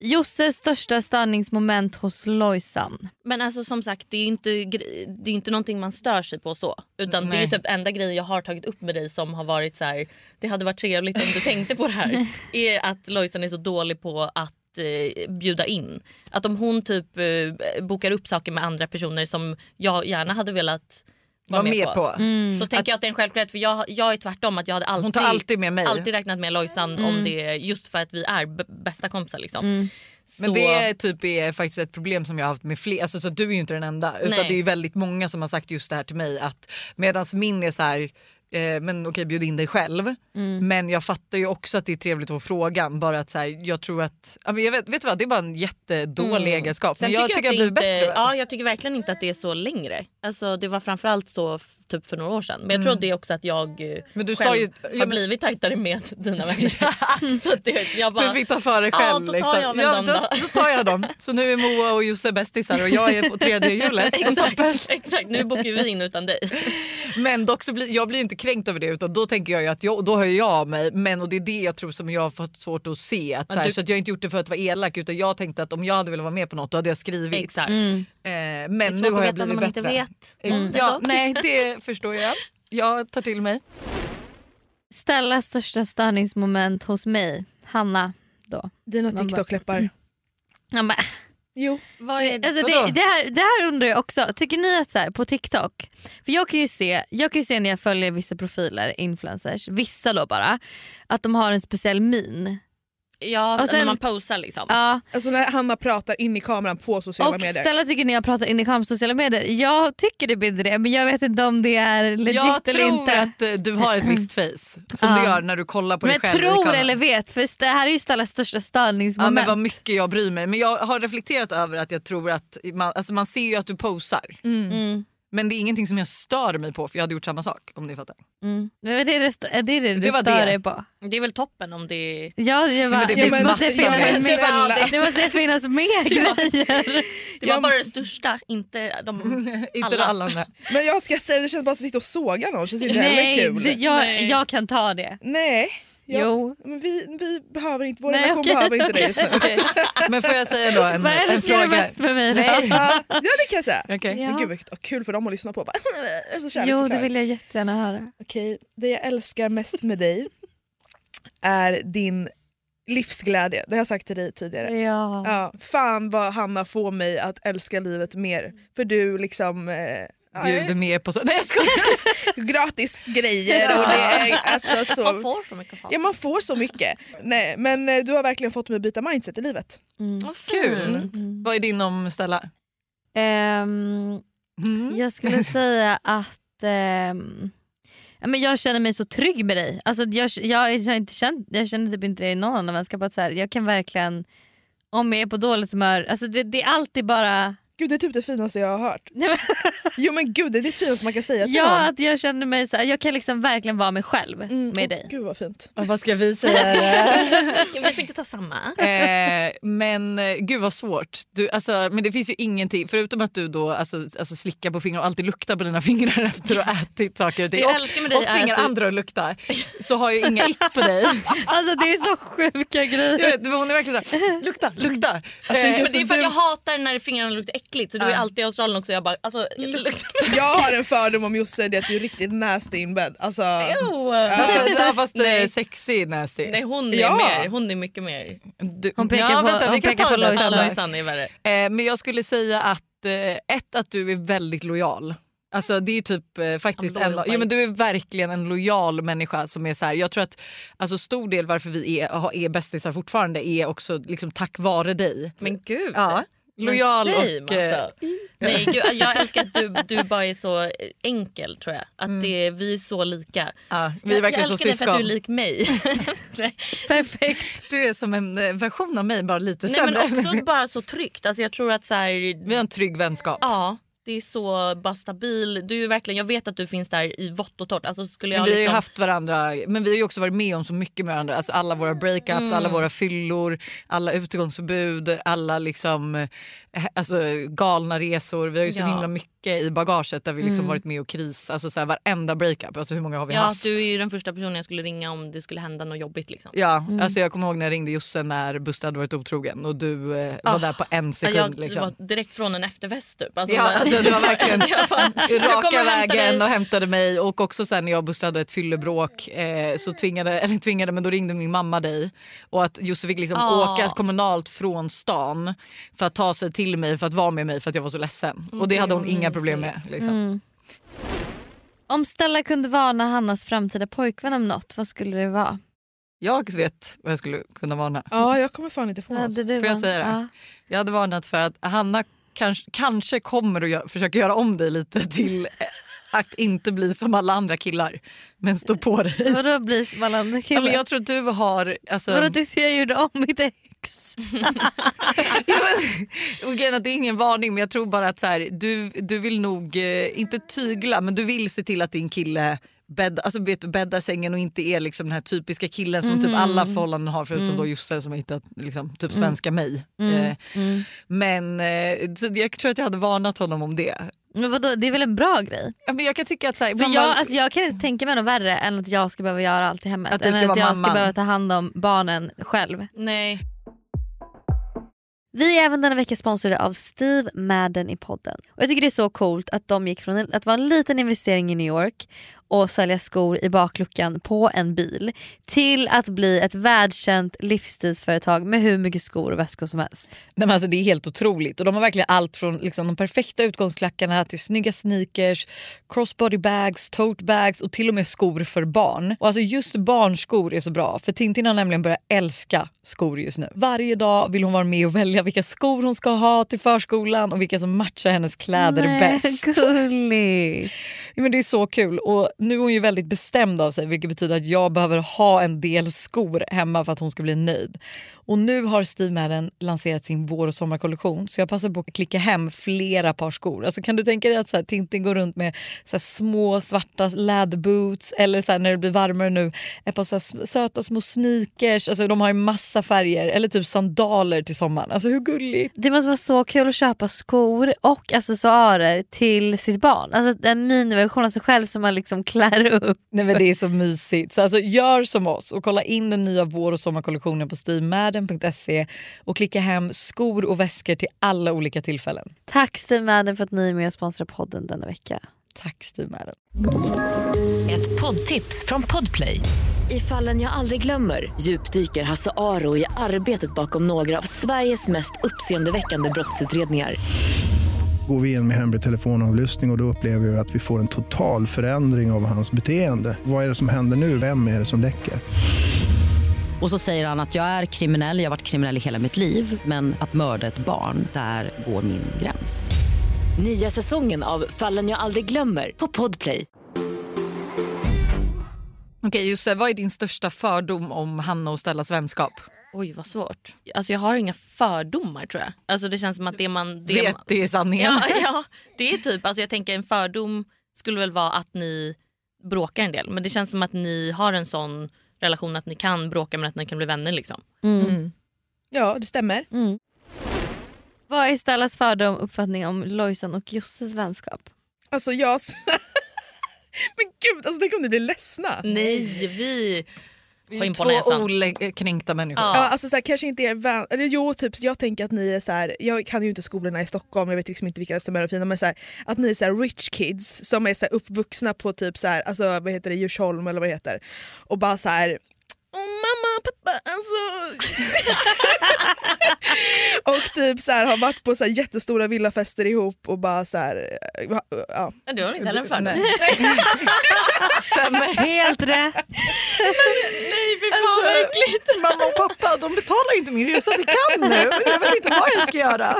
Speaker 1: Josses största störningsmoment hos Lojsan.
Speaker 3: Men alltså som sagt, det är ju inte, gre- det är inte någonting man stör sig på så. Utan det är ju typ enda grejen jag har tagit upp med dig som har varit så här. det hade varit trevligt om du tänkte på det här. Är att Lojsan är så dålig på att eh, bjuda in. Att om hon typ eh, bokar upp saker med andra personer som jag gärna hade velat vara
Speaker 2: Var med på.
Speaker 3: Så tänker jag att det är en självklarhet för jag, jag är tvärtom att jag hade alltid,
Speaker 2: Hon tar alltid med mig.
Speaker 3: alltid räknat med Lojsan om det är just för att vi är b- bästa kompisar liksom. Så,
Speaker 2: Men det är typ är faktiskt ett problem som jag har haft med fler, alltså, så du är ju inte den enda. Utan
Speaker 3: Nej.
Speaker 2: det är ju väldigt många som har sagt just det här till mig att medan min är så här eh, men okej bjud in dig själv.
Speaker 3: Mm.
Speaker 2: Men jag fattar ju också att det är trevligt att få frågan. Bara att så här, jag tror att, ja, men jag vet, vet du vad det är bara en jättedålig egenskap.
Speaker 3: Mm. Sen
Speaker 2: men jag tycker jag,
Speaker 3: det
Speaker 2: blir
Speaker 3: inte,
Speaker 2: bättre.
Speaker 3: Ja, jag tycker verkligen inte att det är så längre. Alltså, det var framförallt så f- typ för några år sedan. Men jag tror det är också att jag eh,
Speaker 2: Mm. Men du sa
Speaker 3: själv
Speaker 2: ju-
Speaker 3: har
Speaker 2: ja, men-
Speaker 3: blivit tajtare med (laughs) dina vänner. (laughs) så att det, jag bara,
Speaker 2: Du fick ta för dig
Speaker 3: Ja,
Speaker 2: själv. liksom.
Speaker 3: då tar jag väl dem
Speaker 2: då,
Speaker 3: då.
Speaker 2: då tar jag dem. Så nu är Moa och Josse bästisar och jag är på tredje hjulet.
Speaker 3: (laughs)
Speaker 2: Så toppen.
Speaker 3: exakt, exakt, nu bokar vi in
Speaker 2: (laughs)
Speaker 3: utan dig.
Speaker 2: Men dock så blir, jag blir inte kränkt över det utan då tänker jag ju att jag, och då höjer jag av mig. Men och det är det jag tror som jag har fått svårt att se. Att, så, här,
Speaker 3: du-
Speaker 2: så att jag har inte gjort det för att vara elak utan jag tänkte att om jag hade velat vara med på något då hade jag skrivit.
Speaker 3: Exakt.
Speaker 2: Eh,
Speaker 3: Det är
Speaker 2: men
Speaker 3: svårt
Speaker 2: nu
Speaker 3: att
Speaker 2: har jag
Speaker 3: veta när
Speaker 2: blivit
Speaker 3: man inte
Speaker 2: bättre. Eh,
Speaker 3: vet. Mm.
Speaker 2: Ja, nej det förstår jag. Jag tar till mig.
Speaker 1: Stellas största störningsmoment hos mig, Hanna. Då.
Speaker 4: Dina
Speaker 1: Man bara- mm.
Speaker 4: TikTok-läppar.
Speaker 1: Ja, men,
Speaker 4: Jo.
Speaker 1: alltså
Speaker 2: vadå?
Speaker 1: det, det, här, det här undrar jag också, tycker ni att så här, på TikTok, för jag kan, ju se, jag kan ju se när jag följer vissa profiler, influencers, vissa då bara, att de har en speciell min.
Speaker 3: Ja,
Speaker 1: Och sen-
Speaker 3: när man posar liksom.
Speaker 1: Ja,
Speaker 4: Alltså när Hanna pratar in i kameran på sociala
Speaker 1: och
Speaker 4: medier.
Speaker 1: Stella tycker när jag pratar in i kameran på sociala medier, jag tycker det blir det men jag vet inte om det är legit
Speaker 2: Jag
Speaker 1: eller
Speaker 2: tror
Speaker 1: inte.
Speaker 2: att eh, du har ett visst face som
Speaker 1: Ja.
Speaker 2: du gör när du kollar på
Speaker 1: men
Speaker 2: dig
Speaker 1: jag
Speaker 2: själv. i
Speaker 1: tror
Speaker 2: kameran.
Speaker 1: eller vet för det här är ju Stellas största
Speaker 2: Ja,
Speaker 1: störningsmoment.
Speaker 2: men vad mycket jag bryr mig. Men jag har reflekterat över att jag tror att man, alltså man ser ju att du posar.
Speaker 3: Mm.
Speaker 2: Men det är ingenting som jag stör mig på för jag hade gjort samma sak om ni fattar.
Speaker 1: Mm. Men det är det, st- det, är det du
Speaker 2: Det var
Speaker 1: stör
Speaker 2: det.
Speaker 1: dig på.
Speaker 3: Det är väl toppen om det är...
Speaker 1: Ja, jag bara,
Speaker 2: det
Speaker 1: det,
Speaker 2: finns
Speaker 1: måste
Speaker 2: massor.
Speaker 1: finnas
Speaker 4: Men
Speaker 1: mer,
Speaker 4: snälla.
Speaker 1: det måste finnas mer grejer.
Speaker 3: Det var
Speaker 4: Ja, men-
Speaker 3: bara det största, inte de...
Speaker 2: (laughs) Inte
Speaker 3: Alla.
Speaker 2: alla, alla andra.
Speaker 4: Men jag ska säga, det känns bara som att sitta och såga någon, känns inte heller
Speaker 1: Nej,
Speaker 4: kul.
Speaker 1: du, jag,
Speaker 3: Nej.
Speaker 1: jag kan ta det.
Speaker 4: Nej. Jag,
Speaker 1: Jo.
Speaker 4: Men vi, vi behöver inte, vår
Speaker 1: Nej, (laughs)
Speaker 4: relation
Speaker 1: okej.
Speaker 4: behöver inte det just nu.
Speaker 2: Men får jag säga då en,
Speaker 1: Vad
Speaker 2: en
Speaker 1: älskar du
Speaker 2: fråga?
Speaker 1: mest med mig då?
Speaker 2: Nej.
Speaker 4: (laughs) Ja, ja det kan jag säga.
Speaker 2: Okej.
Speaker 1: Ja.
Speaker 4: Men gud vad kul för dem att lyssna på. (laughs) Bara, jag är så
Speaker 1: Jo,
Speaker 4: kärleksförklarad.
Speaker 1: det vill jag jättegärna höra.
Speaker 4: Okej, det jag älskar mest med dig är din livsglädje. Det har jag sagt till dig tidigare.
Speaker 1: Ja.
Speaker 4: Ja, fan vad Hanna får mig att älska livet mer. För du liksom... Eh, ja,
Speaker 2: Bjuder med på så... Nej jag skojar.
Speaker 4: gratis grejer och det är alltså så...
Speaker 3: Man får så mycket saker.
Speaker 4: Ja man får så mycket. Nej, men eh, du har verkligen fått mig att byta mindset i livet.
Speaker 3: Mm.
Speaker 2: Vad Kul. Vad är din om Stella?
Speaker 1: Ehm,
Speaker 2: Mm.
Speaker 1: jag skulle säga att ehm, ja, men jag känner mig så trygg med dig. Alltså, jag, jag, jag, har inte känt, jag känner typ inte det i någon annan vänskap. Att så här, jag kan verkligen, om jag är på dåligt humör, alltså, det, det är alltid bara
Speaker 4: Gud det är typ det finaste jag har hört.
Speaker 1: Nej, men-
Speaker 4: (laughs) Jo men gud det är det finaste man kan säga till
Speaker 1: Ja,
Speaker 4: någon.
Speaker 1: att jag känner mig så här, jag kan liksom verkligen vara mig själv med dig.
Speaker 4: Gud vad fint.
Speaker 2: Vad ska vi säga?
Speaker 3: Vi fick inte ta samma.
Speaker 2: eh, men eh, gud vad svårt. Du, alltså, men det finns ju ingenting, förutom att du då alltså, alltså, slickar på fingrar och alltid luktar på dina (laughs) fingrar efter att ha ätit saker och ting.
Speaker 3: jag
Speaker 2: och,
Speaker 3: älskar med dig
Speaker 2: och
Speaker 3: är att
Speaker 2: tvingar
Speaker 3: du-
Speaker 2: andra att lukta. Så har jag
Speaker 3: (laughs)
Speaker 2: inga x på dig.
Speaker 1: Alltså det är så sjuka (laughs)
Speaker 2: Jag
Speaker 1: grejer.
Speaker 2: vet, hon är verkligen såhär, lukta, lukta.
Speaker 4: Alltså,
Speaker 2: Eh,
Speaker 4: just
Speaker 3: Men det är för att
Speaker 4: du-
Speaker 3: jag hatar när fingrarna luktar äckligt. Så du är alltid i Australien också. Jag bara,
Speaker 2: (laughs)
Speaker 3: alltså, det luktar...
Speaker 4: (laughs) Jag har en fördom om Josse det är att du är riktigt nasty in bed. Alltså,
Speaker 3: Jo.
Speaker 2: Alltså, det här fast
Speaker 3: Nej.
Speaker 2: eh, sexy nasty.
Speaker 3: Nej hon är
Speaker 4: Ja.
Speaker 3: mer, hon är mycket mer.
Speaker 2: Du,
Speaker 1: Hon pekar på- hon
Speaker 2: vi kan
Speaker 1: pekar
Speaker 2: ta
Speaker 1: på
Speaker 2: det där
Speaker 1: Lojsan.
Speaker 2: sen.
Speaker 3: Lojsan är värre.
Speaker 2: Eh, men jag skulle säga att eh, ett att du är väldigt lojal. Alltså det är ju typ eh, faktiskt
Speaker 3: I'm loyal
Speaker 2: en,
Speaker 3: by-
Speaker 2: jo, men du är verkligen en lojal människa som är så här. Jag tror att alltså stor del varför vi är, har- är bästisar fortfarande är också liksom tack vare dig.
Speaker 3: Men gud.
Speaker 2: Ja,
Speaker 3: Men
Speaker 2: lojal
Speaker 3: same,
Speaker 2: och eh,
Speaker 3: Alltså. Nej, gud, jag älskar att du, du bara är så enkel tror jag. Att det, vi är så lika.
Speaker 2: Mm. ja, vi är
Speaker 3: jag jag
Speaker 2: verkligen
Speaker 3: älskar
Speaker 2: så
Speaker 3: dig för att du är
Speaker 2: syskon.
Speaker 3: lik mig. (laughs) Nej.
Speaker 2: Perfekt. Du är som en eh, version av mig bara lite
Speaker 3: Nej men
Speaker 2: (laughs) sämre.
Speaker 3: också bara så tryggt. Alltså, jag tror att så här,
Speaker 2: Vi har en trygg vänskap.
Speaker 3: ja, Det är så bara stabil. Du är verkligen, jag vet att du finns där i vått och torrt. Alltså
Speaker 2: Men
Speaker 3: skulle jag
Speaker 2: vi har ju
Speaker 3: liksom,
Speaker 2: haft varandra, men vi har ju också varit med om så mycket med varandra. Alltså alla våra breakups, alla
Speaker 3: Mm.
Speaker 2: våra fyllor, alla utegångsförbud, alla liksom, eh, alltså, galna resor. Vi har ju så
Speaker 3: Ja. Mm.
Speaker 2: himla mycket i bagaget där vi liksom varit med och kris. Alltså så här, varenda breakup, alltså hur många har vi
Speaker 3: ja,
Speaker 2: haft?
Speaker 3: du är ju den första personen jag skulle ringa om det skulle hända något jobbigt. Liksom.
Speaker 2: Ja, alltså jag kommer ihåg när jag ringde Josse när Buster hade varit otrogen och du eh, var
Speaker 3: Ah.
Speaker 2: där på en
Speaker 3: Ja,
Speaker 2: sekund.
Speaker 3: jag
Speaker 2: liksom.
Speaker 3: var direkt från en efterfest typ. Alltså,
Speaker 2: Ja,
Speaker 3: bara-
Speaker 2: alltså, det var verkligen
Speaker 3: (laughs) Jag bara, jag kommer och
Speaker 2: raka
Speaker 3: hämtar dig.
Speaker 2: vägen och hämtade mig och också sen när jag och Buster hade ett fyllebråk eh, så tvingade, (laughs) eller tvingade, men då ringde min mamma dig och att Josse fick liksom
Speaker 3: Ah.
Speaker 2: åka kommunalt från stan för att ta sig till mig för att vara med mig för att jag var så ledsen och det
Speaker 3: det
Speaker 2: hade
Speaker 3: är
Speaker 2: hon inga problem med.
Speaker 3: mysigt.
Speaker 2: Liksom.
Speaker 1: Om Stella kunde varna Hannas framtida pojkvän om något, vad skulle det vara?
Speaker 2: Jag vet vad jag skulle kunna varna.
Speaker 4: Ja, jag kommer fan inte få
Speaker 1: Vad
Speaker 4: något.
Speaker 1: hade du
Speaker 2: Får jag
Speaker 1: varnat?
Speaker 2: säga det?
Speaker 1: Ja.
Speaker 2: Jag hade varnat för att Hanna kanske, kanske kommer att gö- försöka göra om dig lite till (laughs) eh, att inte bli som alla andra killar men stå på dig.
Speaker 1: Vadå bli som alla andra
Speaker 2: Ja,
Speaker 1: killar?
Speaker 2: men jag tror att du har... Alltså,
Speaker 1: Vadå tycks jag gjorde om mitt ex?
Speaker 2: Ja, men- och grejen är att det är ingen varning men jag tror bara att så här, du, du vill nog, eh, inte tygla, men du vill se till att din kille bädd, alltså, vet, du, bäddar sängen och inte är liksom den här typiska killen som typ alla förhållanden har förutom då Josse som har hittat liksom, typ svenska mig. Eh, Men eh, så jag tror att jag hade varnat honom om det.
Speaker 1: Men vadå, det är väl en bra grej?
Speaker 2: Ja, men jag kan tycka att så här,
Speaker 1: För
Speaker 2: man
Speaker 1: jag,
Speaker 2: bara-
Speaker 1: alltså jag kan inte tänka mig något värre än att jag ska behöva göra allt i hemmet.
Speaker 2: Att du
Speaker 1: Än
Speaker 2: ska
Speaker 1: att
Speaker 2: vara
Speaker 1: jag ska
Speaker 2: mamman.
Speaker 1: behöva ta hand om barnen själv.
Speaker 3: Nej.
Speaker 1: Vi är även denna vecka sponsrade av Steve Madden i podden. Och jag tycker det är så coolt att de gick från en, att vara en liten investering i New York och sälja skor i bakluckan på en bil till att bli ett världskänt livsstilsföretag med hur mycket skor och väskor som helst.
Speaker 2: Nej, men alltså, det är helt otroligt. Och De har verkligen allt från liksom, de perfekta utgångsklackarna till snygga sneakers, crossbody bags, tote bags och till och med skor för barn. Och alltså, just barnskor är så bra, för Tintin har nämligen börjat älska skor just nu. Varje dag vill hon vara med och välja vilka skor hon ska ha till förskolan och vilka som matchar hennes kläder bäst.
Speaker 1: Gullig.
Speaker 2: Ja, men det är så kul. Och Nu är hon ju väldigt bestämd av sig vilket betyder att jag behöver ha en del skor hemma för att hon ska bli nöjd. Och Nu har Steve Madden lanserat sin vår och sommarkollektion så jag passar på att klicka hem flera par skor. Alltså, kan du tänka dig att så här, Tintin går runt med så här, små svarta läderboots eller så här, när det blir varmare nu ett par så här, sm- söta små sneakers. Alltså, de har ju massa färger. Eller typ sandaler till sommaren. Alltså, hur gulligt?
Speaker 1: Det måste vara så kul att köpa skor och accessoarer till sitt barn. Alltså en miniversion av sig själv som man liksom (laughs) klär upp.
Speaker 2: Nej men det är så mysigt. Så alltså, gör som oss och kolla in den nya vår och sommarkollektionen på steamadden.se och klicka hem skor och väskor till alla olika tillfällen.
Speaker 1: Tack Steve Madden för att ni är med och sponsrar podden denna vecka.
Speaker 2: Tack Steamadden.
Speaker 7: Ett poddtips från Podplay. I fallen jag aldrig glömmer djupdyker Hasse Aro i arbetet bakom några av Sveriges mest uppseendeväckande brottsutredningar.
Speaker 8: Går vi in med hemlig telefonavlyssning och, och då upplever vi att vi får en total förändring av hans beteende. Vad är det som händer nu? Vem är det som läcker?
Speaker 9: Och så säger han att jag är kriminell, jag har varit kriminell i hela mitt liv men att mörda ett barn, där går min gräns.
Speaker 7: Nya säsongen av Fallen jag aldrig glömmer på Podplay.
Speaker 2: Okej Josse, vad är din största fördom om Hanna och Stellas vänskap?
Speaker 3: Oj vad svårt. Alltså jag har inga fördomar tror jag. Alltså det känns som att det man... Det
Speaker 2: Vet
Speaker 3: man,
Speaker 2: det är sanningen.
Speaker 3: (laughs) ja, ja, det är typ, alltså jag tänker en fördom skulle väl vara att ni bråkar en del. Men det känns som att ni har en sån relation att ni kan bråka men att ni kan bli vänner liksom.
Speaker 4: Ja, det stämmer.
Speaker 1: Vad är Stellas fördom uppfattning om Lojsan och Josses vänskap?
Speaker 4: Alltså jag... (laughs) Men gud, alltså, tänk om ni blir ledsna.
Speaker 3: Nej, vi... Få in på
Speaker 2: Två
Speaker 3: näsan.
Speaker 2: okränkta människor.
Speaker 4: Ja,
Speaker 3: Ja.
Speaker 4: alltså så här, kanske inte er vän, eller jo typ så jag tänker att ni är så här, jag kan ju inte skolorna i Stockholm, jag vet liksom inte vilka som är de fina men så här, att ni är så här rich kids som är så här uppvuxna på typ så här, alltså vad heter det, Djursholm eller vad det heter och bara så här Åh mamma, pappa, alltså... (laughs) och typ så här, har varit på så här jättestora villafester ihop och bara så här... eh, Ja.
Speaker 3: Nej, Du har inte heller en fördom.
Speaker 2: Nej.
Speaker 3: (laughs) Nej,
Speaker 1: Helt rätt!
Speaker 3: fy fan vad äckligt.
Speaker 2: Mamma och pappa de betalar inte min resa till Cannes nu. Jag vet inte vad jag ska göra.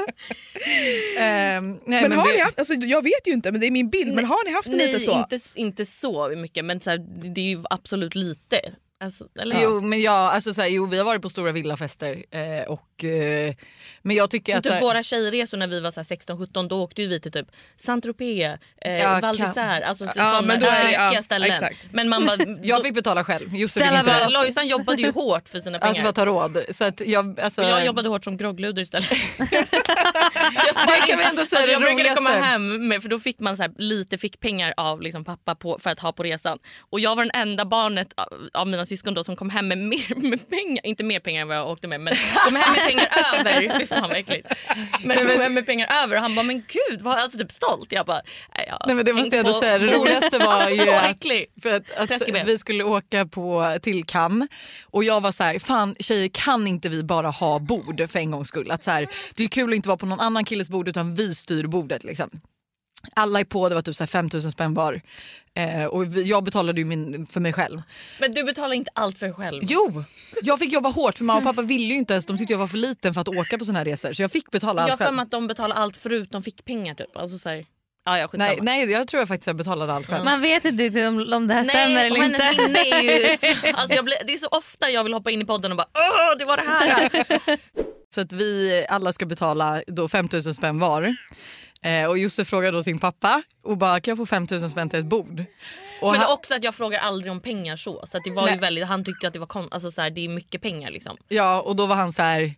Speaker 2: Ehm, nej,
Speaker 4: Men har
Speaker 2: det-
Speaker 4: ni haft, alltså, jag vet ju inte men det är min bild, men har ni haft det
Speaker 3: Nej,
Speaker 4: lite så?
Speaker 3: Inte, inte så mycket men så här, det är ju absolut lite. Alltså, eller?
Speaker 2: Jo, men jag, alltså, så här, jo, vi har varit på stora villafester. Eh, och, eh, men jag tycker att...
Speaker 3: typ
Speaker 2: så här-
Speaker 3: våra tjejresor när vi var 16-17 då åkte ju vi till typ Saint-Tropez, eh,
Speaker 2: Ja,
Speaker 3: Val
Speaker 2: kan-
Speaker 3: d'Isère, alltså typ
Speaker 2: Ja,
Speaker 3: sådana
Speaker 2: men då är det-
Speaker 3: rökiga
Speaker 2: ja,
Speaker 3: ställen.
Speaker 2: exakt.
Speaker 3: Men man bara,
Speaker 2: jag fick betala själv. Josef
Speaker 3: Ställa
Speaker 2: fick inte.
Speaker 3: bara- Lojsan jobbade ju hårt för sina pengar.
Speaker 2: Alltså för att ta råd. Så att jag, alltså,
Speaker 3: Och jag jobbade hårt som
Speaker 2: (laughs)
Speaker 3: groggluder istället. så jag
Speaker 2: Det kan vi ändå säga är det
Speaker 3: Alltså, jag brukade komma
Speaker 2: roligaste.
Speaker 3: hem med, för då fick man så här, lite fickpengar av liksom, pappa på, för att ha på resan. Och jag var den enda barnet av, av mina syskon då som kom hem med mer med pengar. Inte mer pengar än vad jag åkte med men kom hem med pengar
Speaker 2: (laughs)
Speaker 3: över. Fy fan vad äckligt. Men kom hem med pengar över och han bara men gud vad alltså typ stolt. Jag bara nej, jag
Speaker 2: Nej, men det
Speaker 3: har
Speaker 2: måste jag
Speaker 3: hängt
Speaker 2: ändå
Speaker 3: på
Speaker 2: säga. Det
Speaker 3: (laughs) bordet.
Speaker 2: roligaste var
Speaker 3: alltså,
Speaker 2: ju
Speaker 3: så
Speaker 2: att-
Speaker 3: äcklig.
Speaker 2: För att, att
Speaker 3: Preskriber.
Speaker 2: vi skulle åka på, till Cannes och jag var så här, fan tjejer kan inte vi bara ha bord för en gångs skull? Att så här, det är kul att inte vara på någon annan killes bord utan vi styr bordet liksom. Alla är på, det var typ så här 5 000 spänn var. Eh, och vi, jag betalade ju min, för mig själv.
Speaker 3: Men du betalar inte allt för dig själv.
Speaker 2: Jo, jag fick jobba hårt för mamma och pappa ville ju inte ens, de tyckte jag var för liten för att åka på såna här resor så jag fick betala
Speaker 3: Jag har
Speaker 2: allt
Speaker 3: för
Speaker 2: själv.
Speaker 3: mig att de betalar allt förutom fickpengar typ. Alltså, så här, ja, ja, skitsamma.
Speaker 2: Nej, nej, jag tror jag faktiskt jag betalade allt själv.
Speaker 1: Man vet inte riktigt om, om det här stämmer eller
Speaker 3: och
Speaker 1: inte.
Speaker 3: hennes minne
Speaker 2: (laughs)
Speaker 3: är ju... Alltså jag blir, det är så ofta jag vill hoppa in i podden och bara åh det var det här.
Speaker 2: Så att vi alla ska betala då 5 000 spänn var. Eh, och Josef frågar då sin pappa och bara kan jag få 5 000 spänn till ett bord? Och
Speaker 3: Men
Speaker 2: han,
Speaker 3: också att jag frågar aldrig om pengar så. Så att det var
Speaker 2: Nej.
Speaker 3: ju väldigt, han tyckte att det var kon, alltså så här, det är mycket pengar liksom.
Speaker 2: ja och då var han så här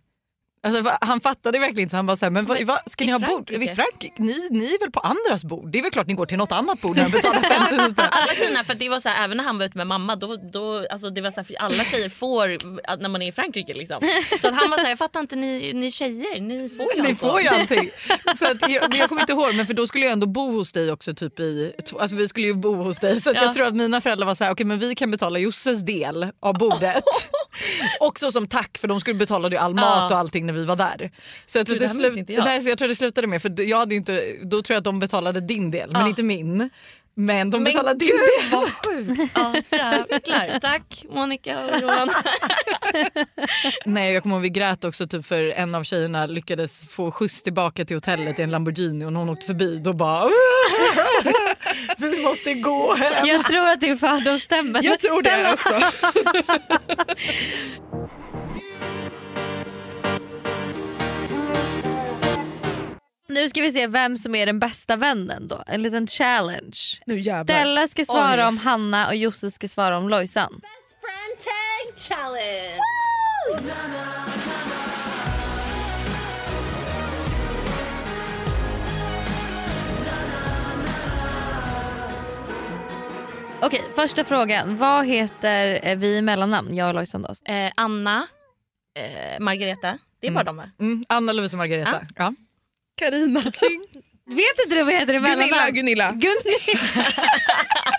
Speaker 2: Alltså, va- han fattade verkligen inte. så Han bara så här, men, vad- vad- ska
Speaker 3: i
Speaker 2: ni ha bord?
Speaker 3: Frankrike?
Speaker 2: I Frankrike? Ni, ni är väl på andras bord? Det är väl klart ni går till något annat bord när ni
Speaker 3: (laughs)
Speaker 2: betalar 5 000 spänn.
Speaker 3: Alla tjejerna, för att det var så här, även när han var ute med mamma, då, då, alltså det var så här, för alla tjejer får att- när man är i Frankrike liksom. Så att han var så här, jag fattar inte ni, ni tjejer, ni får ju
Speaker 2: Ni
Speaker 3: allt.
Speaker 2: får ju allting. (laughs) Så att, jag, men jag kommer inte ihåg men för då skulle jag ändå bo hos dig också. Typ i, tw- alltså vi skulle ju bo hos dig så att
Speaker 3: Ja.
Speaker 2: jag tror att mina föräldrar var så här, okej men vi kan betala Josses del av
Speaker 3: (laughs)
Speaker 2: bordet. också som tack för de skulle betala ju all mat
Speaker 3: Ja.
Speaker 2: och allting när vi var där. Så jag tror,
Speaker 3: Gud,
Speaker 2: det
Speaker 3: det här minns
Speaker 2: slu-
Speaker 3: inte jag.
Speaker 2: Nej, så jag tror det slutade med, för d- jag hade ju inte, då tror jag att de betalade din del men
Speaker 3: Ja.
Speaker 2: inte min. Men de
Speaker 3: Men
Speaker 2: betalade din
Speaker 3: gud,
Speaker 2: del.
Speaker 3: vad sjukt. Ja jävlar. Tack Monica och Johan.
Speaker 2: Nej, jag kommer ihåg vi grät också typ för en av tjejerna lyckades få skjuts tillbaka till hotellet i en Lamborghini och när hon åkte förbi då bara (laughs) Vi måste gå hem.
Speaker 1: Jag tror att din fördom stämmer.
Speaker 4: Jag tror det också.
Speaker 1: Nu ska vi se vem som är den bästa vännen då. En liten challenge.
Speaker 4: Nu jävlar.
Speaker 1: Stella ska svara
Speaker 4: Oj.
Speaker 1: om Hanna och Josse ska svara om Lojsan.
Speaker 10: Friend tag challenge.
Speaker 1: Okej, första frågan. Vad heter eh, vi i mellannamn, jag och Lojsan då?
Speaker 3: Eh, Anna, eh, Margareta. Det är bara de va?
Speaker 2: Mm, Anna Lovisa Margareta. Ja.
Speaker 4: Carina.
Speaker 1: Vet inte du vad jag heter i mellannamn?
Speaker 4: Gunilla, Gunilla.
Speaker 1: Gunilla.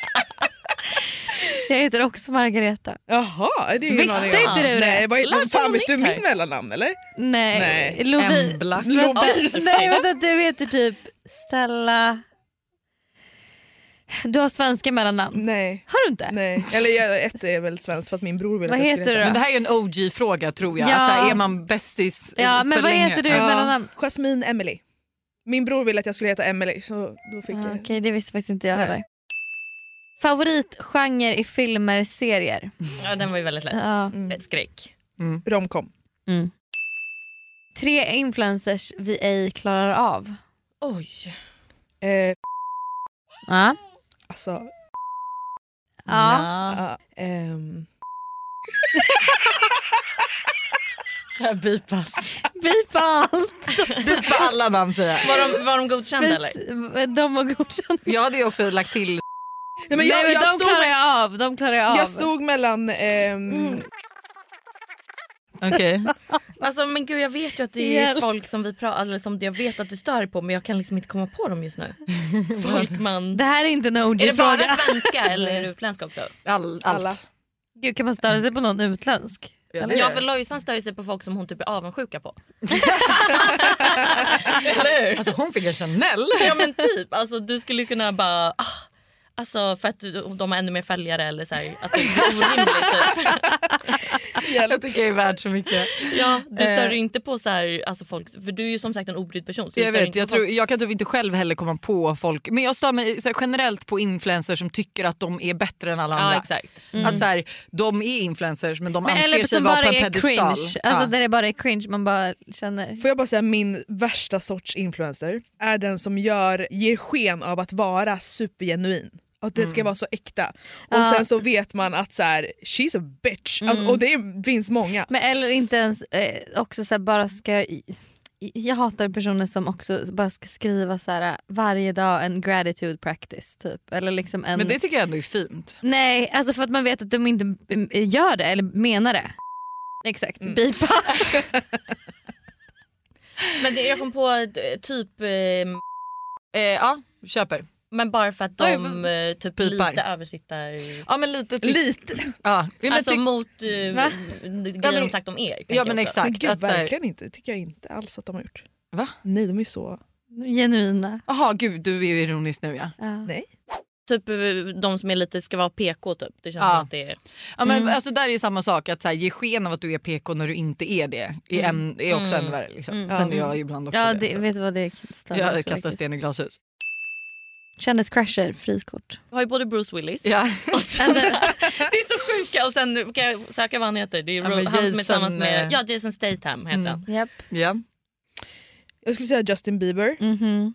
Speaker 1: (laughs) jag heter också Margareta.
Speaker 4: Jaha, är det ingen
Speaker 1: Visste
Speaker 4: aning
Speaker 1: inte
Speaker 4: om.
Speaker 1: du det?
Speaker 4: Nej, vad,
Speaker 1: Lars
Speaker 4: vad fan
Speaker 1: Ulrik
Speaker 4: vet du
Speaker 1: här.
Speaker 4: mitt mellannamn eller?
Speaker 1: Nej,
Speaker 4: Nej.
Speaker 1: Lovi-
Speaker 4: Embla.
Speaker 1: Vänta,
Speaker 4: Lovisa.
Speaker 1: Nej vänta, du heter typ Stella... Du har svenska mellannamn.
Speaker 4: Nej.
Speaker 1: Har du inte?
Speaker 4: Nej. Eller jag, ett är väl svenskt för att min bror vill
Speaker 1: Vad
Speaker 4: att jag
Speaker 1: heter
Speaker 4: skulle
Speaker 1: du då?
Speaker 2: Men det här är ju en OG-fråga tror jag.
Speaker 4: Ja.
Speaker 2: Att så här, är man bästis eh, för länge? Ja.
Speaker 4: Jasmine Emily. Min bror ville att jag skulle heta Emily så då fick jag...
Speaker 1: Ah, Okej, det visste faktiskt inte jag heller. Favoritgenre i filmer, serier?
Speaker 3: Ja, den var ju väldigt lätt.
Speaker 1: Ja.
Speaker 3: Eh, Skräck.
Speaker 4: Romcom.
Speaker 1: Tre influencers vi ej klarar av.
Speaker 3: Oj.
Speaker 4: Eh,
Speaker 1: Ja.
Speaker 4: alltså...
Speaker 1: Ja.
Speaker 4: Ja, ehm,
Speaker 2: Här bipas.
Speaker 1: Bipa
Speaker 4: (laughs)
Speaker 1: allt!
Speaker 2: Bipa Alltså, alla namn säger jag.
Speaker 3: Var de, var de godkända eller?
Speaker 1: eller? De var godkända.
Speaker 2: Jag hade ju också lagt till
Speaker 4: Nej, men jag,
Speaker 1: Nej, men
Speaker 4: jag,
Speaker 1: de
Speaker 4: stod,
Speaker 1: klarar jag av. De klarar jag av. Mm.
Speaker 4: jag stod mellan... ehm,
Speaker 2: Okej.
Speaker 3: Alltså, men gud, jag vet ju att det är
Speaker 1: Hjälp.
Speaker 3: folk som, vi pra- eller som jag vet att du stör på men jag kan liksom inte komma på dem just nu. Folkman.
Speaker 1: Det här är inte en
Speaker 3: Är det bara
Speaker 1: OG-fråga.
Speaker 3: svenska eller är det utländska också?
Speaker 2: All,
Speaker 4: alla.
Speaker 1: Gud, kan man störa sig på någon utländsk? Eller?
Speaker 3: Ja för Lojsan stör ju sig på folk som hon typ är avundsjuka på. eller hur?
Speaker 2: Alltså hon fick en Chanel.
Speaker 3: Ja men typ, alltså, du skulle kunna bara ah, Alltså för att de har ännu mer följare eller så här, att det är orimligt typ.
Speaker 2: Jag tycker jag är värd så mycket.
Speaker 3: Ja, du stör
Speaker 2: Eh.
Speaker 3: dig inte på så här, alltså folk, för du är ju som sagt en obrydd person. Så du
Speaker 2: jag
Speaker 3: stör
Speaker 2: vet,
Speaker 3: dig inte
Speaker 2: jag,
Speaker 3: på
Speaker 2: tror,
Speaker 3: folk.
Speaker 2: jag kan typ inte själv heller komma på folk. Men jag stör mig så här, generellt på influencers som tycker att de är bättre än alla
Speaker 3: Ja,
Speaker 2: andra.
Speaker 3: exakt.
Speaker 2: Att så här, de är influencers men de
Speaker 1: Mm. Men
Speaker 2: anser
Speaker 1: eller
Speaker 2: sig
Speaker 1: som
Speaker 2: vara
Speaker 1: bara
Speaker 2: på en
Speaker 1: är
Speaker 2: pedestal.
Speaker 1: cringe. Alltså
Speaker 2: Ja.
Speaker 1: där det bara är cringe, man bara känner.
Speaker 4: Får jag bara säga min värsta sorts influencer är den som gör, ger sken av att vara supergenuin. Att det ska
Speaker 1: Mm.
Speaker 4: vara så äkta. Och
Speaker 1: Ja.
Speaker 4: sen så vet man att så här, she's a bitch. Alltså,
Speaker 1: Mm.
Speaker 4: och det finns många.
Speaker 1: Men eller inte ens eh, också så här, bara ska... i- Jag hatar personer som också bara ska skriva så här, varje dag en gratitude practice typ. Eller liksom en...
Speaker 2: Men det tycker jag ändå är fint.
Speaker 1: Nej, alltså för att man vet att de inte mm, gör det eller menar det. Exakt, bipa. (laughs)
Speaker 3: Men det, jag kom på eh, typ...
Speaker 2: Eh, ja, köper.
Speaker 3: Men bara för att
Speaker 2: Oj,
Speaker 3: de
Speaker 2: vad-
Speaker 3: eh, typ
Speaker 2: pipar.
Speaker 3: lite översittar...
Speaker 2: Ja men lite. typ- Ja. Ja, men
Speaker 3: alltså
Speaker 2: tyck-
Speaker 3: mot
Speaker 2: Va?
Speaker 3: eh, grejer
Speaker 2: Ja, men-
Speaker 3: de sagt om er. tänker
Speaker 2: Ja
Speaker 3: jag
Speaker 2: men
Speaker 3: också.
Speaker 2: exakt.
Speaker 4: Men gud,
Speaker 2: att så här-
Speaker 4: verkligen inte. Det tycker jag inte alls att de har gjort.
Speaker 2: Va?
Speaker 4: Nej, de är så...
Speaker 1: Genuina.
Speaker 2: Jaha gud du är ju ironisk nu ja.
Speaker 4: Nej.
Speaker 3: Typ eh, de som är lite ska vara PK typ. Det känns
Speaker 2: Ja.
Speaker 3: som att det är...
Speaker 2: Ja, men,
Speaker 3: Mm.
Speaker 2: alltså, där är ju samma sak, att så här, ge sken av att du är PK när du inte är det är, en, är också ännu värre. Liksom.
Speaker 1: Mm.
Speaker 2: Sen är jag ju ibland också
Speaker 1: ja,
Speaker 2: det. så.
Speaker 1: Vet du vad det stör mig
Speaker 2: jag
Speaker 1: också,
Speaker 2: kastar
Speaker 1: faktiskt.
Speaker 2: sten i glashus.
Speaker 1: Kändiscrasher, frikort.
Speaker 3: Jag har ju både Bruce Willis.
Speaker 2: Ja.
Speaker 3: Och sen, (laughs)
Speaker 1: Alltså, (laughs)
Speaker 3: det är så sjuka. Och sen kan jag söka vad han heter. Det är
Speaker 2: Ja,
Speaker 3: Ro-
Speaker 2: men
Speaker 3: han som
Speaker 2: Jason,
Speaker 3: är tillsammans
Speaker 2: eh, Mm.
Speaker 3: med ja, Jason Statham. Heter han.
Speaker 1: Yep.
Speaker 2: (laughs)
Speaker 1: (laughs)
Speaker 2: Ja.
Speaker 4: Jag skulle säga Justin Bieber.
Speaker 1: Mhm.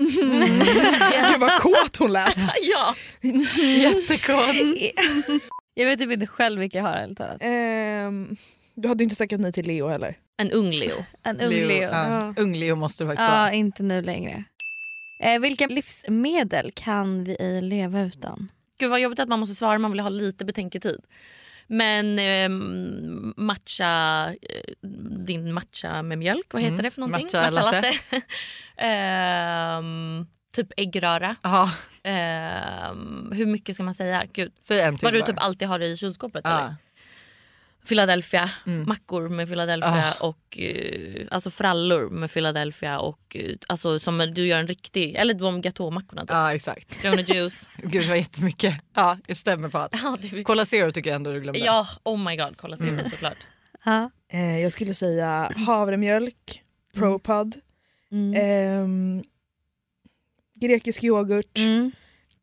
Speaker 4: Gud vad kåt
Speaker 1: (laughs)
Speaker 4: hon lät.
Speaker 3: ja.
Speaker 1: Jättekonstigt. jag vet typ inte själv vilka jag har ärligt talat.
Speaker 4: Ehm, du hade ju inte tackat nej till Leo heller.
Speaker 3: En ung Leo.
Speaker 1: En ung Leo.
Speaker 2: Ja. Ung Leo måste det faktiskt
Speaker 1: Ja,
Speaker 2: vara.
Speaker 1: inte nu längre. Eh, vilka livsmedel kan vi ej leva utan?
Speaker 3: Gud vad jobbigt att man måste svara. Man vill ha lite betänketid. Men ehm, matcha, eh, din matcha med mjölk, vad heter
Speaker 2: Mm,
Speaker 3: det för någonting?
Speaker 2: matcha latte.
Speaker 3: (laughs) Ehm, typ äggröra. Ehm, hur mycket ska man säga? Gud.
Speaker 2: Säg en till
Speaker 3: Vad du
Speaker 2: bara.
Speaker 3: typ alltid har i kylskåpet?
Speaker 2: Ja.
Speaker 3: Eller? Philadelphia,
Speaker 2: Mm. Ah.
Speaker 3: mackor med Philadelphia och eh, alltså frallor med Philadelphia och eh, alltså som du gör en riktig, eller de gatåmackorna typ.
Speaker 2: Ja exakt.
Speaker 3: Jonah
Speaker 2: (laughs)
Speaker 3: Juice.
Speaker 2: Gud det var jättemycket. Ja det stämmer på allt. Cola Zero tycker jag ändå du glömde.
Speaker 3: Ja, oh my god, kolla serien
Speaker 2: Mm.
Speaker 3: såklart.
Speaker 4: Eh, jag skulle säga havremjölk, propad,
Speaker 1: Mm. Eh.
Speaker 4: ehm, grekisk yoghurt,
Speaker 1: Mm.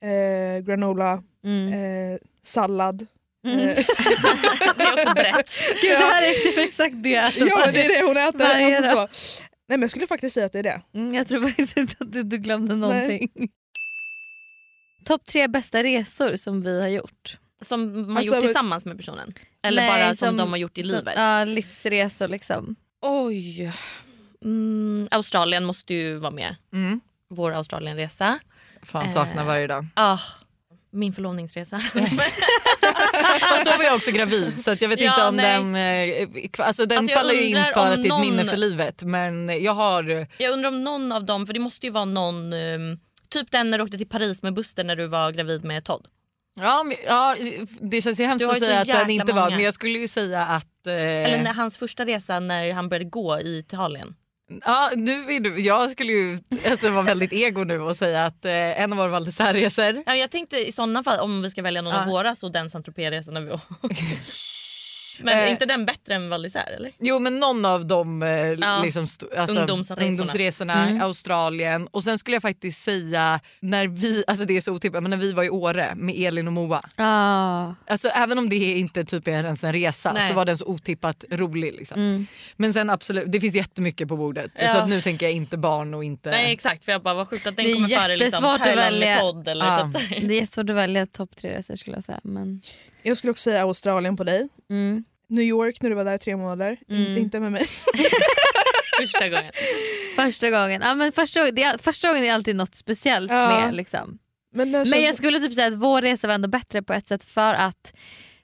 Speaker 4: eh, granola, eh, sallad. Eh,
Speaker 3: det är också brett.
Speaker 1: (laughs) Mm.
Speaker 4: (laughs)
Speaker 1: Gud, det här är typ exakt det jag äter
Speaker 4: ja men det är det hon
Speaker 1: varje
Speaker 4: äter.
Speaker 1: dag.
Speaker 4: Alltså, så. Nej men jag skulle faktiskt säga att det är det.
Speaker 1: Mm, jag tror faktiskt inte att du, du glömde någonting. Topp tre bästa resor som vi har gjort.
Speaker 3: Som man har
Speaker 2: Alltså,
Speaker 3: gjort tillsammans med personen? Eller bara som, de har gjort i
Speaker 1: som-
Speaker 3: livet?
Speaker 1: Ja, livsresor liksom.
Speaker 3: Oj. Mm, Australien måste ju vara med.
Speaker 2: Mm.
Speaker 3: Vår Australienresa.
Speaker 2: Fan saknar
Speaker 3: Eh,
Speaker 2: varje dag.
Speaker 3: Ah,
Speaker 2: (laughs)
Speaker 3: min förlovningsresa.
Speaker 2: Fast då var jag också gravid så att jag vet
Speaker 3: Ja,
Speaker 2: inte om
Speaker 3: nej.
Speaker 2: den... eh, Alltså den
Speaker 3: Alltså, jag
Speaker 2: faller ju in
Speaker 3: undrar
Speaker 2: för
Speaker 3: om
Speaker 2: att det är ett minne
Speaker 3: någon-
Speaker 2: för livet men jag har...
Speaker 3: jag undrar om någon av dem, för det måste ju vara någon, ehm, typ den när du åkte till Paris med Buster när du var gravid med Todd.
Speaker 2: Ja, men, ja, det känns ju
Speaker 3: Du
Speaker 2: hemskt
Speaker 3: har
Speaker 2: att
Speaker 3: ju så
Speaker 2: säga att den
Speaker 3: jäkla
Speaker 2: inte var
Speaker 3: många.
Speaker 2: men jag skulle ju säga att... eh,
Speaker 3: Eller när, hans första resa när han började gå i Italien.
Speaker 2: Ja, nu är du, jag skulle ju alltså, vara väldigt ego nu och säga att eh, en av våra Val d'Isère-resor...
Speaker 3: Ja, Jag tänkte i sådana fall om vi ska välja någon av
Speaker 2: Ja.
Speaker 3: våra så den saint resan när vi (laughs) åkte. Men är
Speaker 2: Eh.
Speaker 3: inte den bättre än Val d'Isère eller?
Speaker 2: Jo men någon av de eh,
Speaker 3: Ja,
Speaker 2: liksom sto- alltså,
Speaker 3: ungdomsresorna.
Speaker 2: ungdomsresorna,
Speaker 3: Mm.
Speaker 2: Australien och sen skulle jag faktiskt säga när vi, alltså det är så otippat, men när vi var i Åre med Elin och Moa.
Speaker 1: Ah.
Speaker 2: Alltså även om det inte typ är ens en resa
Speaker 1: Nej.
Speaker 2: så var den så otippat rolig. Liksom.
Speaker 1: Mm.
Speaker 2: Men sen absolut, det finns jättemycket på bordet
Speaker 3: Ja.
Speaker 2: så att nu tänker jag inte barn och inte...
Speaker 3: Nej exakt för jag bara vad sjukt att den
Speaker 1: det är
Speaker 3: kommer före liksom,
Speaker 1: jättesvårt att
Speaker 3: Thailand med
Speaker 1: välja.
Speaker 3: Todd eller
Speaker 2: Ja.
Speaker 3: typ så här. (laughs)
Speaker 1: Det är jättesvårt att välja topp tre resor skulle jag säga. Men...
Speaker 4: Jag skulle också säga Australien på dig.
Speaker 1: Mm.
Speaker 4: New York när du var där i tre månader.
Speaker 1: Mm.
Speaker 4: Inte- Inte med mig. (laughs)
Speaker 3: första gången.
Speaker 1: Första gången. Ja, men första, gången- det är, första gången är alltid något speciellt
Speaker 4: Ja.
Speaker 1: med. Liksom.
Speaker 4: Men, eh,
Speaker 1: Men jag skulle typ säga att vår resa var ändå bättre på ett sätt för att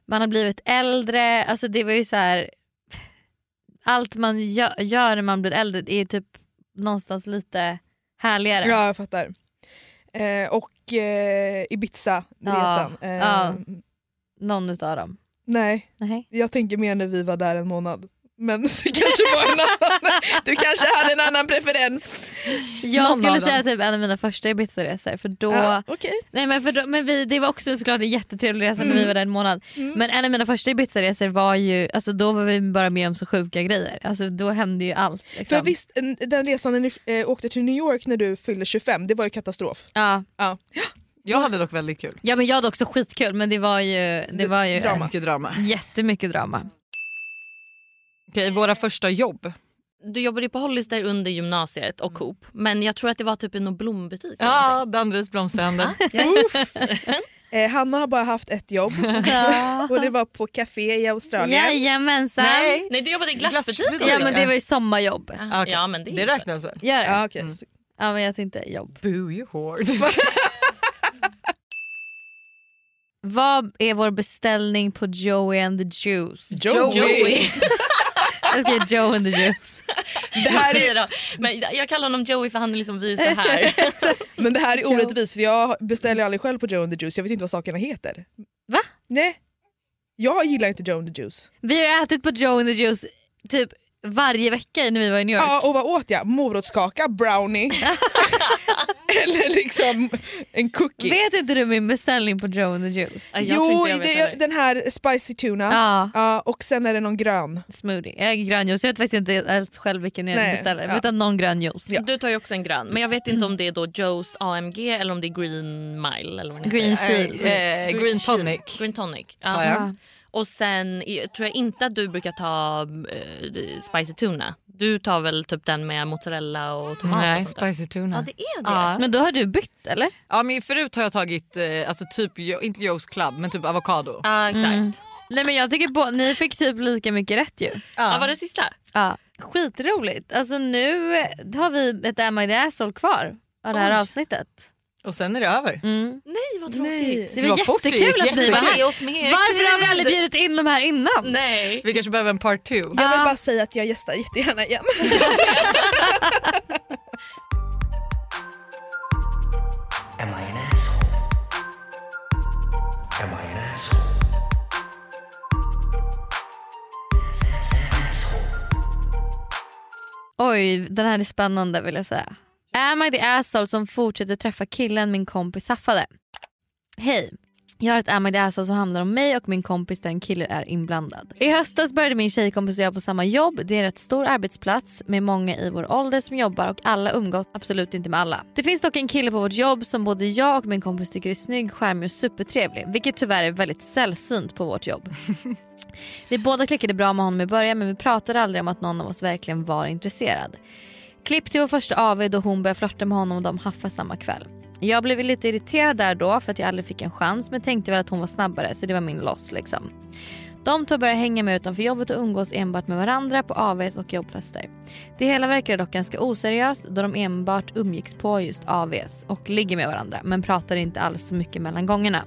Speaker 1: man har blivit äldre. Alltså det var ju så här, Allt man gö- gör när man blir äldre det är ju typ någonstans lite härligare.
Speaker 4: Ja, jag fattar. Eh, och eh, Ibiza-resan.
Speaker 1: Ja,
Speaker 4: Eh,
Speaker 1: ja. Någon utav dem.
Speaker 4: Nej,
Speaker 1: Nej.
Speaker 4: jag tänker mer när vi var där en månad. Men (laughs) det kanske var en annan. (laughs) Du kanske hade en annan preferens.
Speaker 1: Jag
Speaker 4: Någon av
Speaker 1: skulle säga
Speaker 4: dem.
Speaker 1: typ en av mina första Ibiza-resor. För då,
Speaker 4: Ja,
Speaker 1: nej, men för då, men vi, det var också såklart en jättetrevlig resa
Speaker 4: Mm.
Speaker 1: när vi var där en månad.
Speaker 4: Mm.
Speaker 1: Men en av mina första Ibiza-resor var ju, alltså, då var vi bara med om så sjuka grejer. Alltså, då hände ju allt. Liksom.
Speaker 4: För visst, en- den resan när ni eh, åkte till New York när du fyllde 25, det var ju katastrof.
Speaker 1: Ja.
Speaker 4: Ja.
Speaker 2: Jag hade dock väldigt kul.
Speaker 1: Ja men jag hade också skitkul men det var ju, det var ju
Speaker 2: Drama. Mycket drama.
Speaker 1: jättemycket drama.
Speaker 2: Okej, våra första jobb.
Speaker 3: Du jobbade ju på Hollister under gymnasiet och Coop. Men jag tror att det var typ i någon blombutik.
Speaker 2: Ja, Danderyds blomsterhandel.
Speaker 3: (laughs)
Speaker 4: Uff. Eh, Hanna har bara haft
Speaker 1: (laughs)
Speaker 4: ett jobb
Speaker 1: Ja.
Speaker 4: och det var på café i Australien.
Speaker 1: Jajamensan.
Speaker 4: Nej.
Speaker 3: Nej, du jobbade i glassbutik.
Speaker 1: Ja men det var ju sommarjobb.
Speaker 3: Ah, okej. Ja, men det är Det inte- räknas
Speaker 2: väl?
Speaker 1: Gör det?
Speaker 4: Ja, okej. Mm.
Speaker 1: ja men jag tänkte jobb.
Speaker 2: Boo you whore.
Speaker 1: Vad är vår beställning på Joey and the Juice?
Speaker 4: Joey. Joey.
Speaker 1: jag ska ge Joe and the Juice.
Speaker 3: (laughs) det här är... då. (laughs) Men jag kallar honom Joey för han är liksom (laughs) vis så här.
Speaker 4: Men det här är orättvist för jag beställer aldrig själv på Joe and the Juice, jag vet inte vad sakerna heter.
Speaker 1: Va?
Speaker 4: Nej. Jag gillar inte Joe and the Juice.
Speaker 1: Vi har ätit på Joe and the Juice typ varje vecka när vi var i New York.
Speaker 4: Ja, och vad åt jag? Morotskaka, brownie
Speaker 1: (laughs)
Speaker 4: eller liksom en cookie.
Speaker 1: Vet inte du min beställning på Joe and the Juice?
Speaker 4: jo, det, den här spicy tuna
Speaker 1: Ja.
Speaker 4: Ja, och sen är det någon grön.
Speaker 1: Smoothie. Jag äger grön juice. Jag vet faktiskt inte helt själv vilken jag
Speaker 4: Nej,
Speaker 1: beställer.
Speaker 4: ja.
Speaker 1: Utan någon grön juice.
Speaker 3: Du tar ju också en grön. Men jag vet inte om det är då Joes AMG eller om det är Green Mile. Eller vad den
Speaker 1: Green
Speaker 3: heter.
Speaker 1: Shield. Eh,
Speaker 2: green tonic.
Speaker 3: Shield. Green tonic.
Speaker 2: Tar
Speaker 3: Ja. Mm.
Speaker 2: jag. Ja.
Speaker 3: Och sen i- tror jag inte att du brukar ta eh, spicy tuna. Du tar väl typ den med mozzarella och tomat?
Speaker 2: Nej,
Speaker 3: och sånt där.
Speaker 2: spicy tuna.
Speaker 3: Ja, det är det.
Speaker 2: Ja.
Speaker 1: Men då har du bytt eller?
Speaker 2: Ja, men förut har jag tagit, eh, alltså typ, Jo- inte Joe's Club, men typ avokado.
Speaker 3: Ja, exakt.
Speaker 2: Mm.
Speaker 1: Nej men jag tycker på, ni fick typ lika mycket rätt ju.
Speaker 3: Ja. var det sista?
Speaker 1: Ja. Skitroligt. Alltså nu eh, har vi ett Am I the asshole kvar av det här
Speaker 2: Oj.
Speaker 1: avsnittet.
Speaker 2: Och sen är det över.
Speaker 1: Mm.
Speaker 3: Nej, vad tråkigt.
Speaker 1: Det var jättekul att ni var här. Varför har vi aldrig bjudit in de här innan?
Speaker 3: Nej.
Speaker 2: Vi kanske behöver en part two.
Speaker 4: Jag vill bara säga att jag gästar jättegärna igen.
Speaker 11: Am I an asshole? Am I an asshole? Ass- ass- asshole.
Speaker 1: Oj, den här är spännande vill jag säga. Am I the asshole som fortsätter träffa killen min kompis haffade? Hej. Jag har ett Am I the asshole som handlar om mig och min kompis där en kille är inblandad. I höstas började min tjejkompis och jag på samma jobb. Det är en rätt stor arbetsplats med många i vår ålder som jobbar och alla umgås absolut inte med alla. Det finns dock en kille på vårt jobb som både jag och min kompis tycker är snygg, charmig och supertrevlig. Vilket tyvärr är väldigt sällsynt på vårt jobb. Vi båda klickade bra med honom i början men vi pratade aldrig om att någon av oss verkligen var intresserad. Klipp till vår första AV då hon började flörta med honom och de haffar samma kväll. Jag blev lite irriterad där då för att jag aldrig fick en chans men tänkte väl att hon var snabbare så det var min loss liksom. De två började hänga med utanför jobbet och umgås enbart med varandra på AVs och jobbfester. Det hela verkar dock ganska oseriöst då de enbart umgicks på just AVs och ligger med varandra men pratade inte alls så mycket mellan gångerna.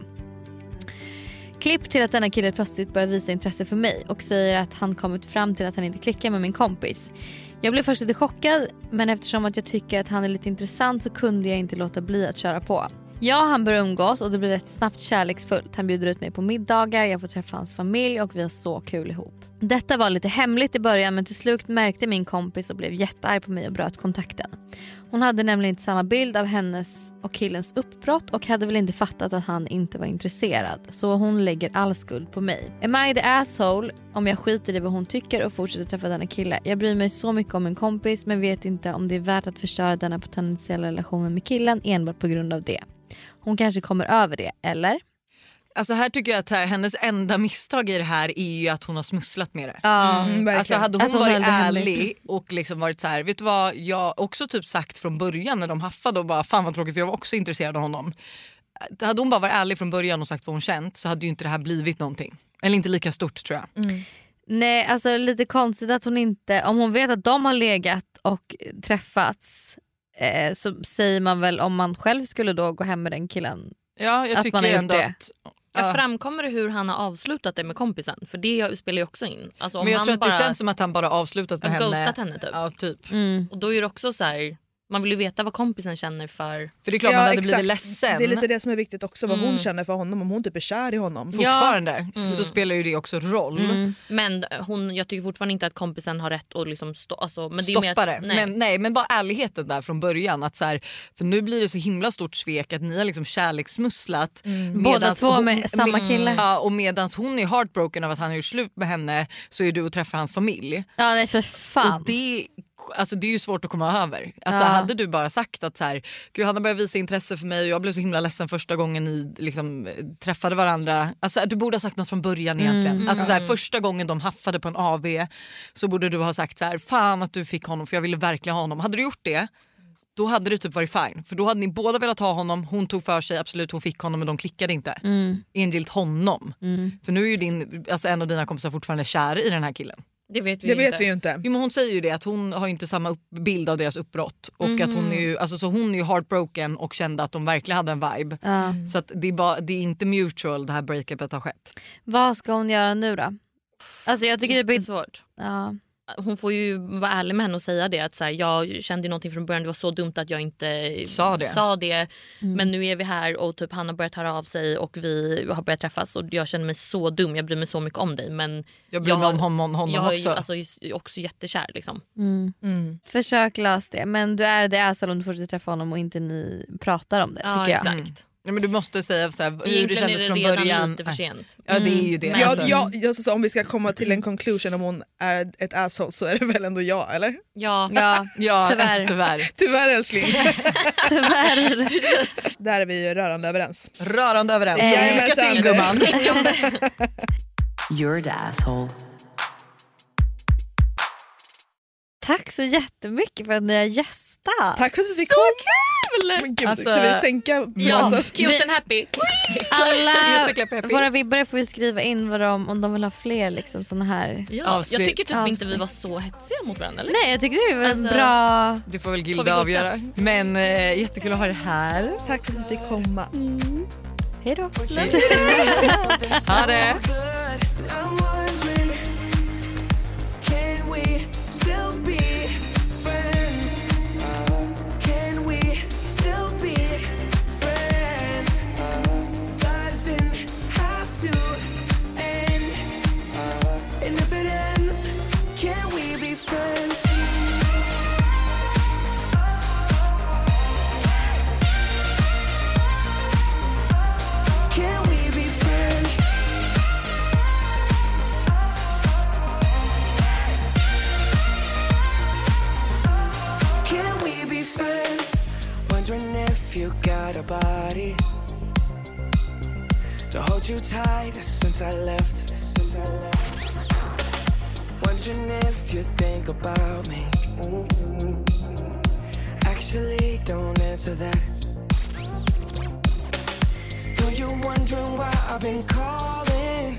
Speaker 1: Klipp till att denna kille plötsligt börjar visa intresse för mig och säger att han kommit fram till att han inte klickar med min kompis. Jag blev först lite chockad men eftersom att jag tycker att han är lite intressant så kunde jag inte låta bli att köra på. Jag och han börjar umgås och det blir rätt snabbt kärleksfullt. Han bjuder ut mig på middagar, jag får träffa hans familj och vi har så kul ihop. Detta var lite hemligt i början men till slut märkte min kompis och blev jättearg på mig och bröt kontakten. Hon hade nämligen inte samma bild av hennes och killens uppbrott och hade väl inte fattat att han inte var intresserad. Så hon lägger all skuld på mig. Am I the asshole om jag skiter i vad hon tycker och fortsätter träffa denna kille? Jag bryr mig så mycket om min kompis men vet inte om det är värt att förstöra denna potentiella relationen med killen enbart på grund av det. Hon kanske kommer över det, eller?
Speaker 2: Alltså här tycker jag att här, hennes enda misstag i det här är ju att hon har smusslat med det.
Speaker 1: Ja, Mm, verkligen.
Speaker 2: alltså hade hon,
Speaker 1: Att hon höll
Speaker 2: varit
Speaker 1: det
Speaker 2: ärlig
Speaker 1: hemligt.
Speaker 2: och liksom varit så här, vet du vad jag också typ sagt från början när de haffade och bara fan vad tråkigt för jag var också intresserad av honom. Hade hon bara varit ärlig från början och sagt vad hon känt så hade ju inte det här blivit någonting. Eller inte lika stort tror jag.
Speaker 1: Nej, alltså lite konstigt att hon inte... Om hon vet att de har legat och träffats eh, så säger man väl om man själv skulle då gå hem med den killen.
Speaker 2: Ja, jag
Speaker 1: att
Speaker 2: tycker
Speaker 1: man har gjort
Speaker 2: ändå
Speaker 1: det.
Speaker 2: att...
Speaker 3: Ja. Framkommer det hur han har avslutat det med kompisen? För det spelar ju också in. Alltså, om
Speaker 2: Men jag
Speaker 3: han
Speaker 2: tror att
Speaker 3: bara
Speaker 2: det känns som att han bara avslutat med
Speaker 3: har
Speaker 2: henne.
Speaker 3: ghostat henne typ.
Speaker 2: Ja, typ.
Speaker 3: Och då är det också så här, Man vill ju veta vad kompisen känner för...
Speaker 2: För det är klart man hade blivit ledsen.
Speaker 4: Det är lite det som är viktigt också, vad
Speaker 3: Mm.
Speaker 4: hon känner för honom, om hon typ är kär i honom.
Speaker 2: Fortfarande så spelar ju det också roll.
Speaker 3: Mm. Men hon, jag tycker fortfarande inte att kompisen har rätt att liksom stå, alltså, men det är
Speaker 2: Stoppa
Speaker 3: mer att,
Speaker 2: det. Men, nej, men bara ärligheten där från början. Att så här, för nu blir det så himla stort svek att ni har liksom kärleksmusslat.
Speaker 1: Mm.
Speaker 2: medans
Speaker 1: Båda två med samma kille.
Speaker 2: Ja, och medan hon är heartbroken av att han har gjort slut med henne så är du och träffar hans familj.
Speaker 1: Ja nej för fan.
Speaker 2: Och det, alltså det är ju svårt att komma över. Alltså,
Speaker 1: Ja.
Speaker 2: Hade du bara sagt att så här, Gud, han har börjat visa intresse för mig och jag blev så himla ledsen första gången ni liksom, eh, träffade varandra. Alltså, du borde ha sagt något från början
Speaker 3: Mm.
Speaker 2: egentligen. Alltså, så här,
Speaker 3: Ja.
Speaker 2: första gången de haffade på en AV så borde du ha sagt så här, fan att du fick honom för jag ville verkligen ha honom. Hade du gjort det då hade det typ varit fine. För då hade ni båda velat ha honom, hon tog för sig, absolut hon fick honom men de klickade inte.
Speaker 1: Mm.
Speaker 2: Enligt honom.
Speaker 1: Mm.
Speaker 2: För nu är ju din, alltså en av dina kompisar fortfarande kär i den här killen.
Speaker 3: Det vet vi
Speaker 4: Det
Speaker 3: ju
Speaker 4: vet
Speaker 3: inte.
Speaker 4: vi ju inte.
Speaker 2: Jo, men hon säger ju det att hon har ju inte samma upp, bild av deras uppbrott. Och att
Speaker 3: Mhm.
Speaker 2: hon, är ju, alltså, så hon är ju heartbroken och kände att de verkligen hade en vibe.
Speaker 1: Ja.
Speaker 2: Så att det, är bara, det är inte mutual det här breakupet har skett.
Speaker 1: Vad ska hon göra nu då? Alltså jag tycker det är
Speaker 3: svårt.
Speaker 1: Ja.
Speaker 3: Hon får ju vara ärlig med henne och säga det. Att så här, jag kände ju någonting från början, det var så dumt att jag inte
Speaker 2: Sa det. Mm.
Speaker 3: det. Men nu är vi här och typ han har börjat höra av sig och vi har börjat träffas och jag känner mig så dum, jag bryr mig så mycket om dig. Men
Speaker 2: Jag bryr mig om honom- honom
Speaker 3: jag är ju
Speaker 2: också.
Speaker 3: Alltså, just- också jättekär liksom.
Speaker 1: Mm. Försök lösa det men du är det är om du fortsätter träffa honom och inte ni pratar om det
Speaker 3: Ja,
Speaker 1: tycker jag.
Speaker 3: exakt.
Speaker 2: Ja, men du måste säga så här, Mm. hur det
Speaker 3: Egentligen
Speaker 2: kändes
Speaker 3: är det
Speaker 2: från
Speaker 3: redan
Speaker 2: början.
Speaker 3: lite för sent. Mm. alltså-
Speaker 2: Ja det är ju det. alltså.
Speaker 4: Ja, ja, jag, så, om vi ska komma till en conclusion om hon är ett asshole så är det väl ändå jag eller?
Speaker 3: Ja,
Speaker 1: Ja, (laughs)
Speaker 2: ja
Speaker 1: tyvärr.
Speaker 2: alltså, tyvärr.
Speaker 4: Tyvärr
Speaker 2: (laughs)
Speaker 4: älskling.
Speaker 1: Tyvärr.
Speaker 4: Där är vi ju rörande överens.
Speaker 2: Rörande överens.
Speaker 4: Eh,
Speaker 2: Lycka till gumman.
Speaker 3: (laughs)
Speaker 9: You're the asshole.
Speaker 1: Tack så jättemycket för att ni har gästat.
Speaker 4: Tack för att vi fick
Speaker 1: Så
Speaker 4: komma.
Speaker 1: kul! Alltså,
Speaker 4: Men gud, ska vi sänka brasan?
Speaker 3: cute and happy.
Speaker 1: Alla
Speaker 3: Just a clap happy.
Speaker 1: våra vibbare får ju skriva in vad de, om de vill ha fler liksom, såna här
Speaker 3: Ja, jag tycker typ inte vi
Speaker 1: avsnitt.
Speaker 3: var så hetsiga mot varandra. Eller?
Speaker 1: Nej jag tycker det var
Speaker 3: Alltså,
Speaker 1: bra.
Speaker 2: Det får väl
Speaker 3: Får vi
Speaker 2: Gilda
Speaker 3: godkänt?
Speaker 2: avgöra. Men eh, jättekul att ha dig här.
Speaker 4: Tack för att vi fick komma.
Speaker 1: Hej då.
Speaker 2: (laughs) ha det.
Speaker 11: I'm wondering, can we still be friends? Can we still be friends? Doesn't have to end. And if it ends, can we be friends? Can we be friends? Can we be friends? Wondering if you got a body to hold you tight since I left. Since I left. Wondering if you think about me. Actually, don't answer that. Know you wondering why I've been calling?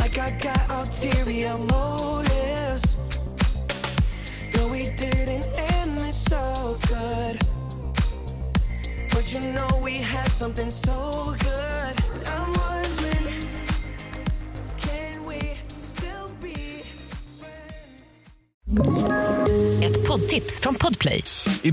Speaker 11: Like I got ulterior motives. No, we didn't end this so good. But you know we had something so good. I'm wondering, can we still be
Speaker 7: Ett poddtips från Podplay.
Speaker 5: I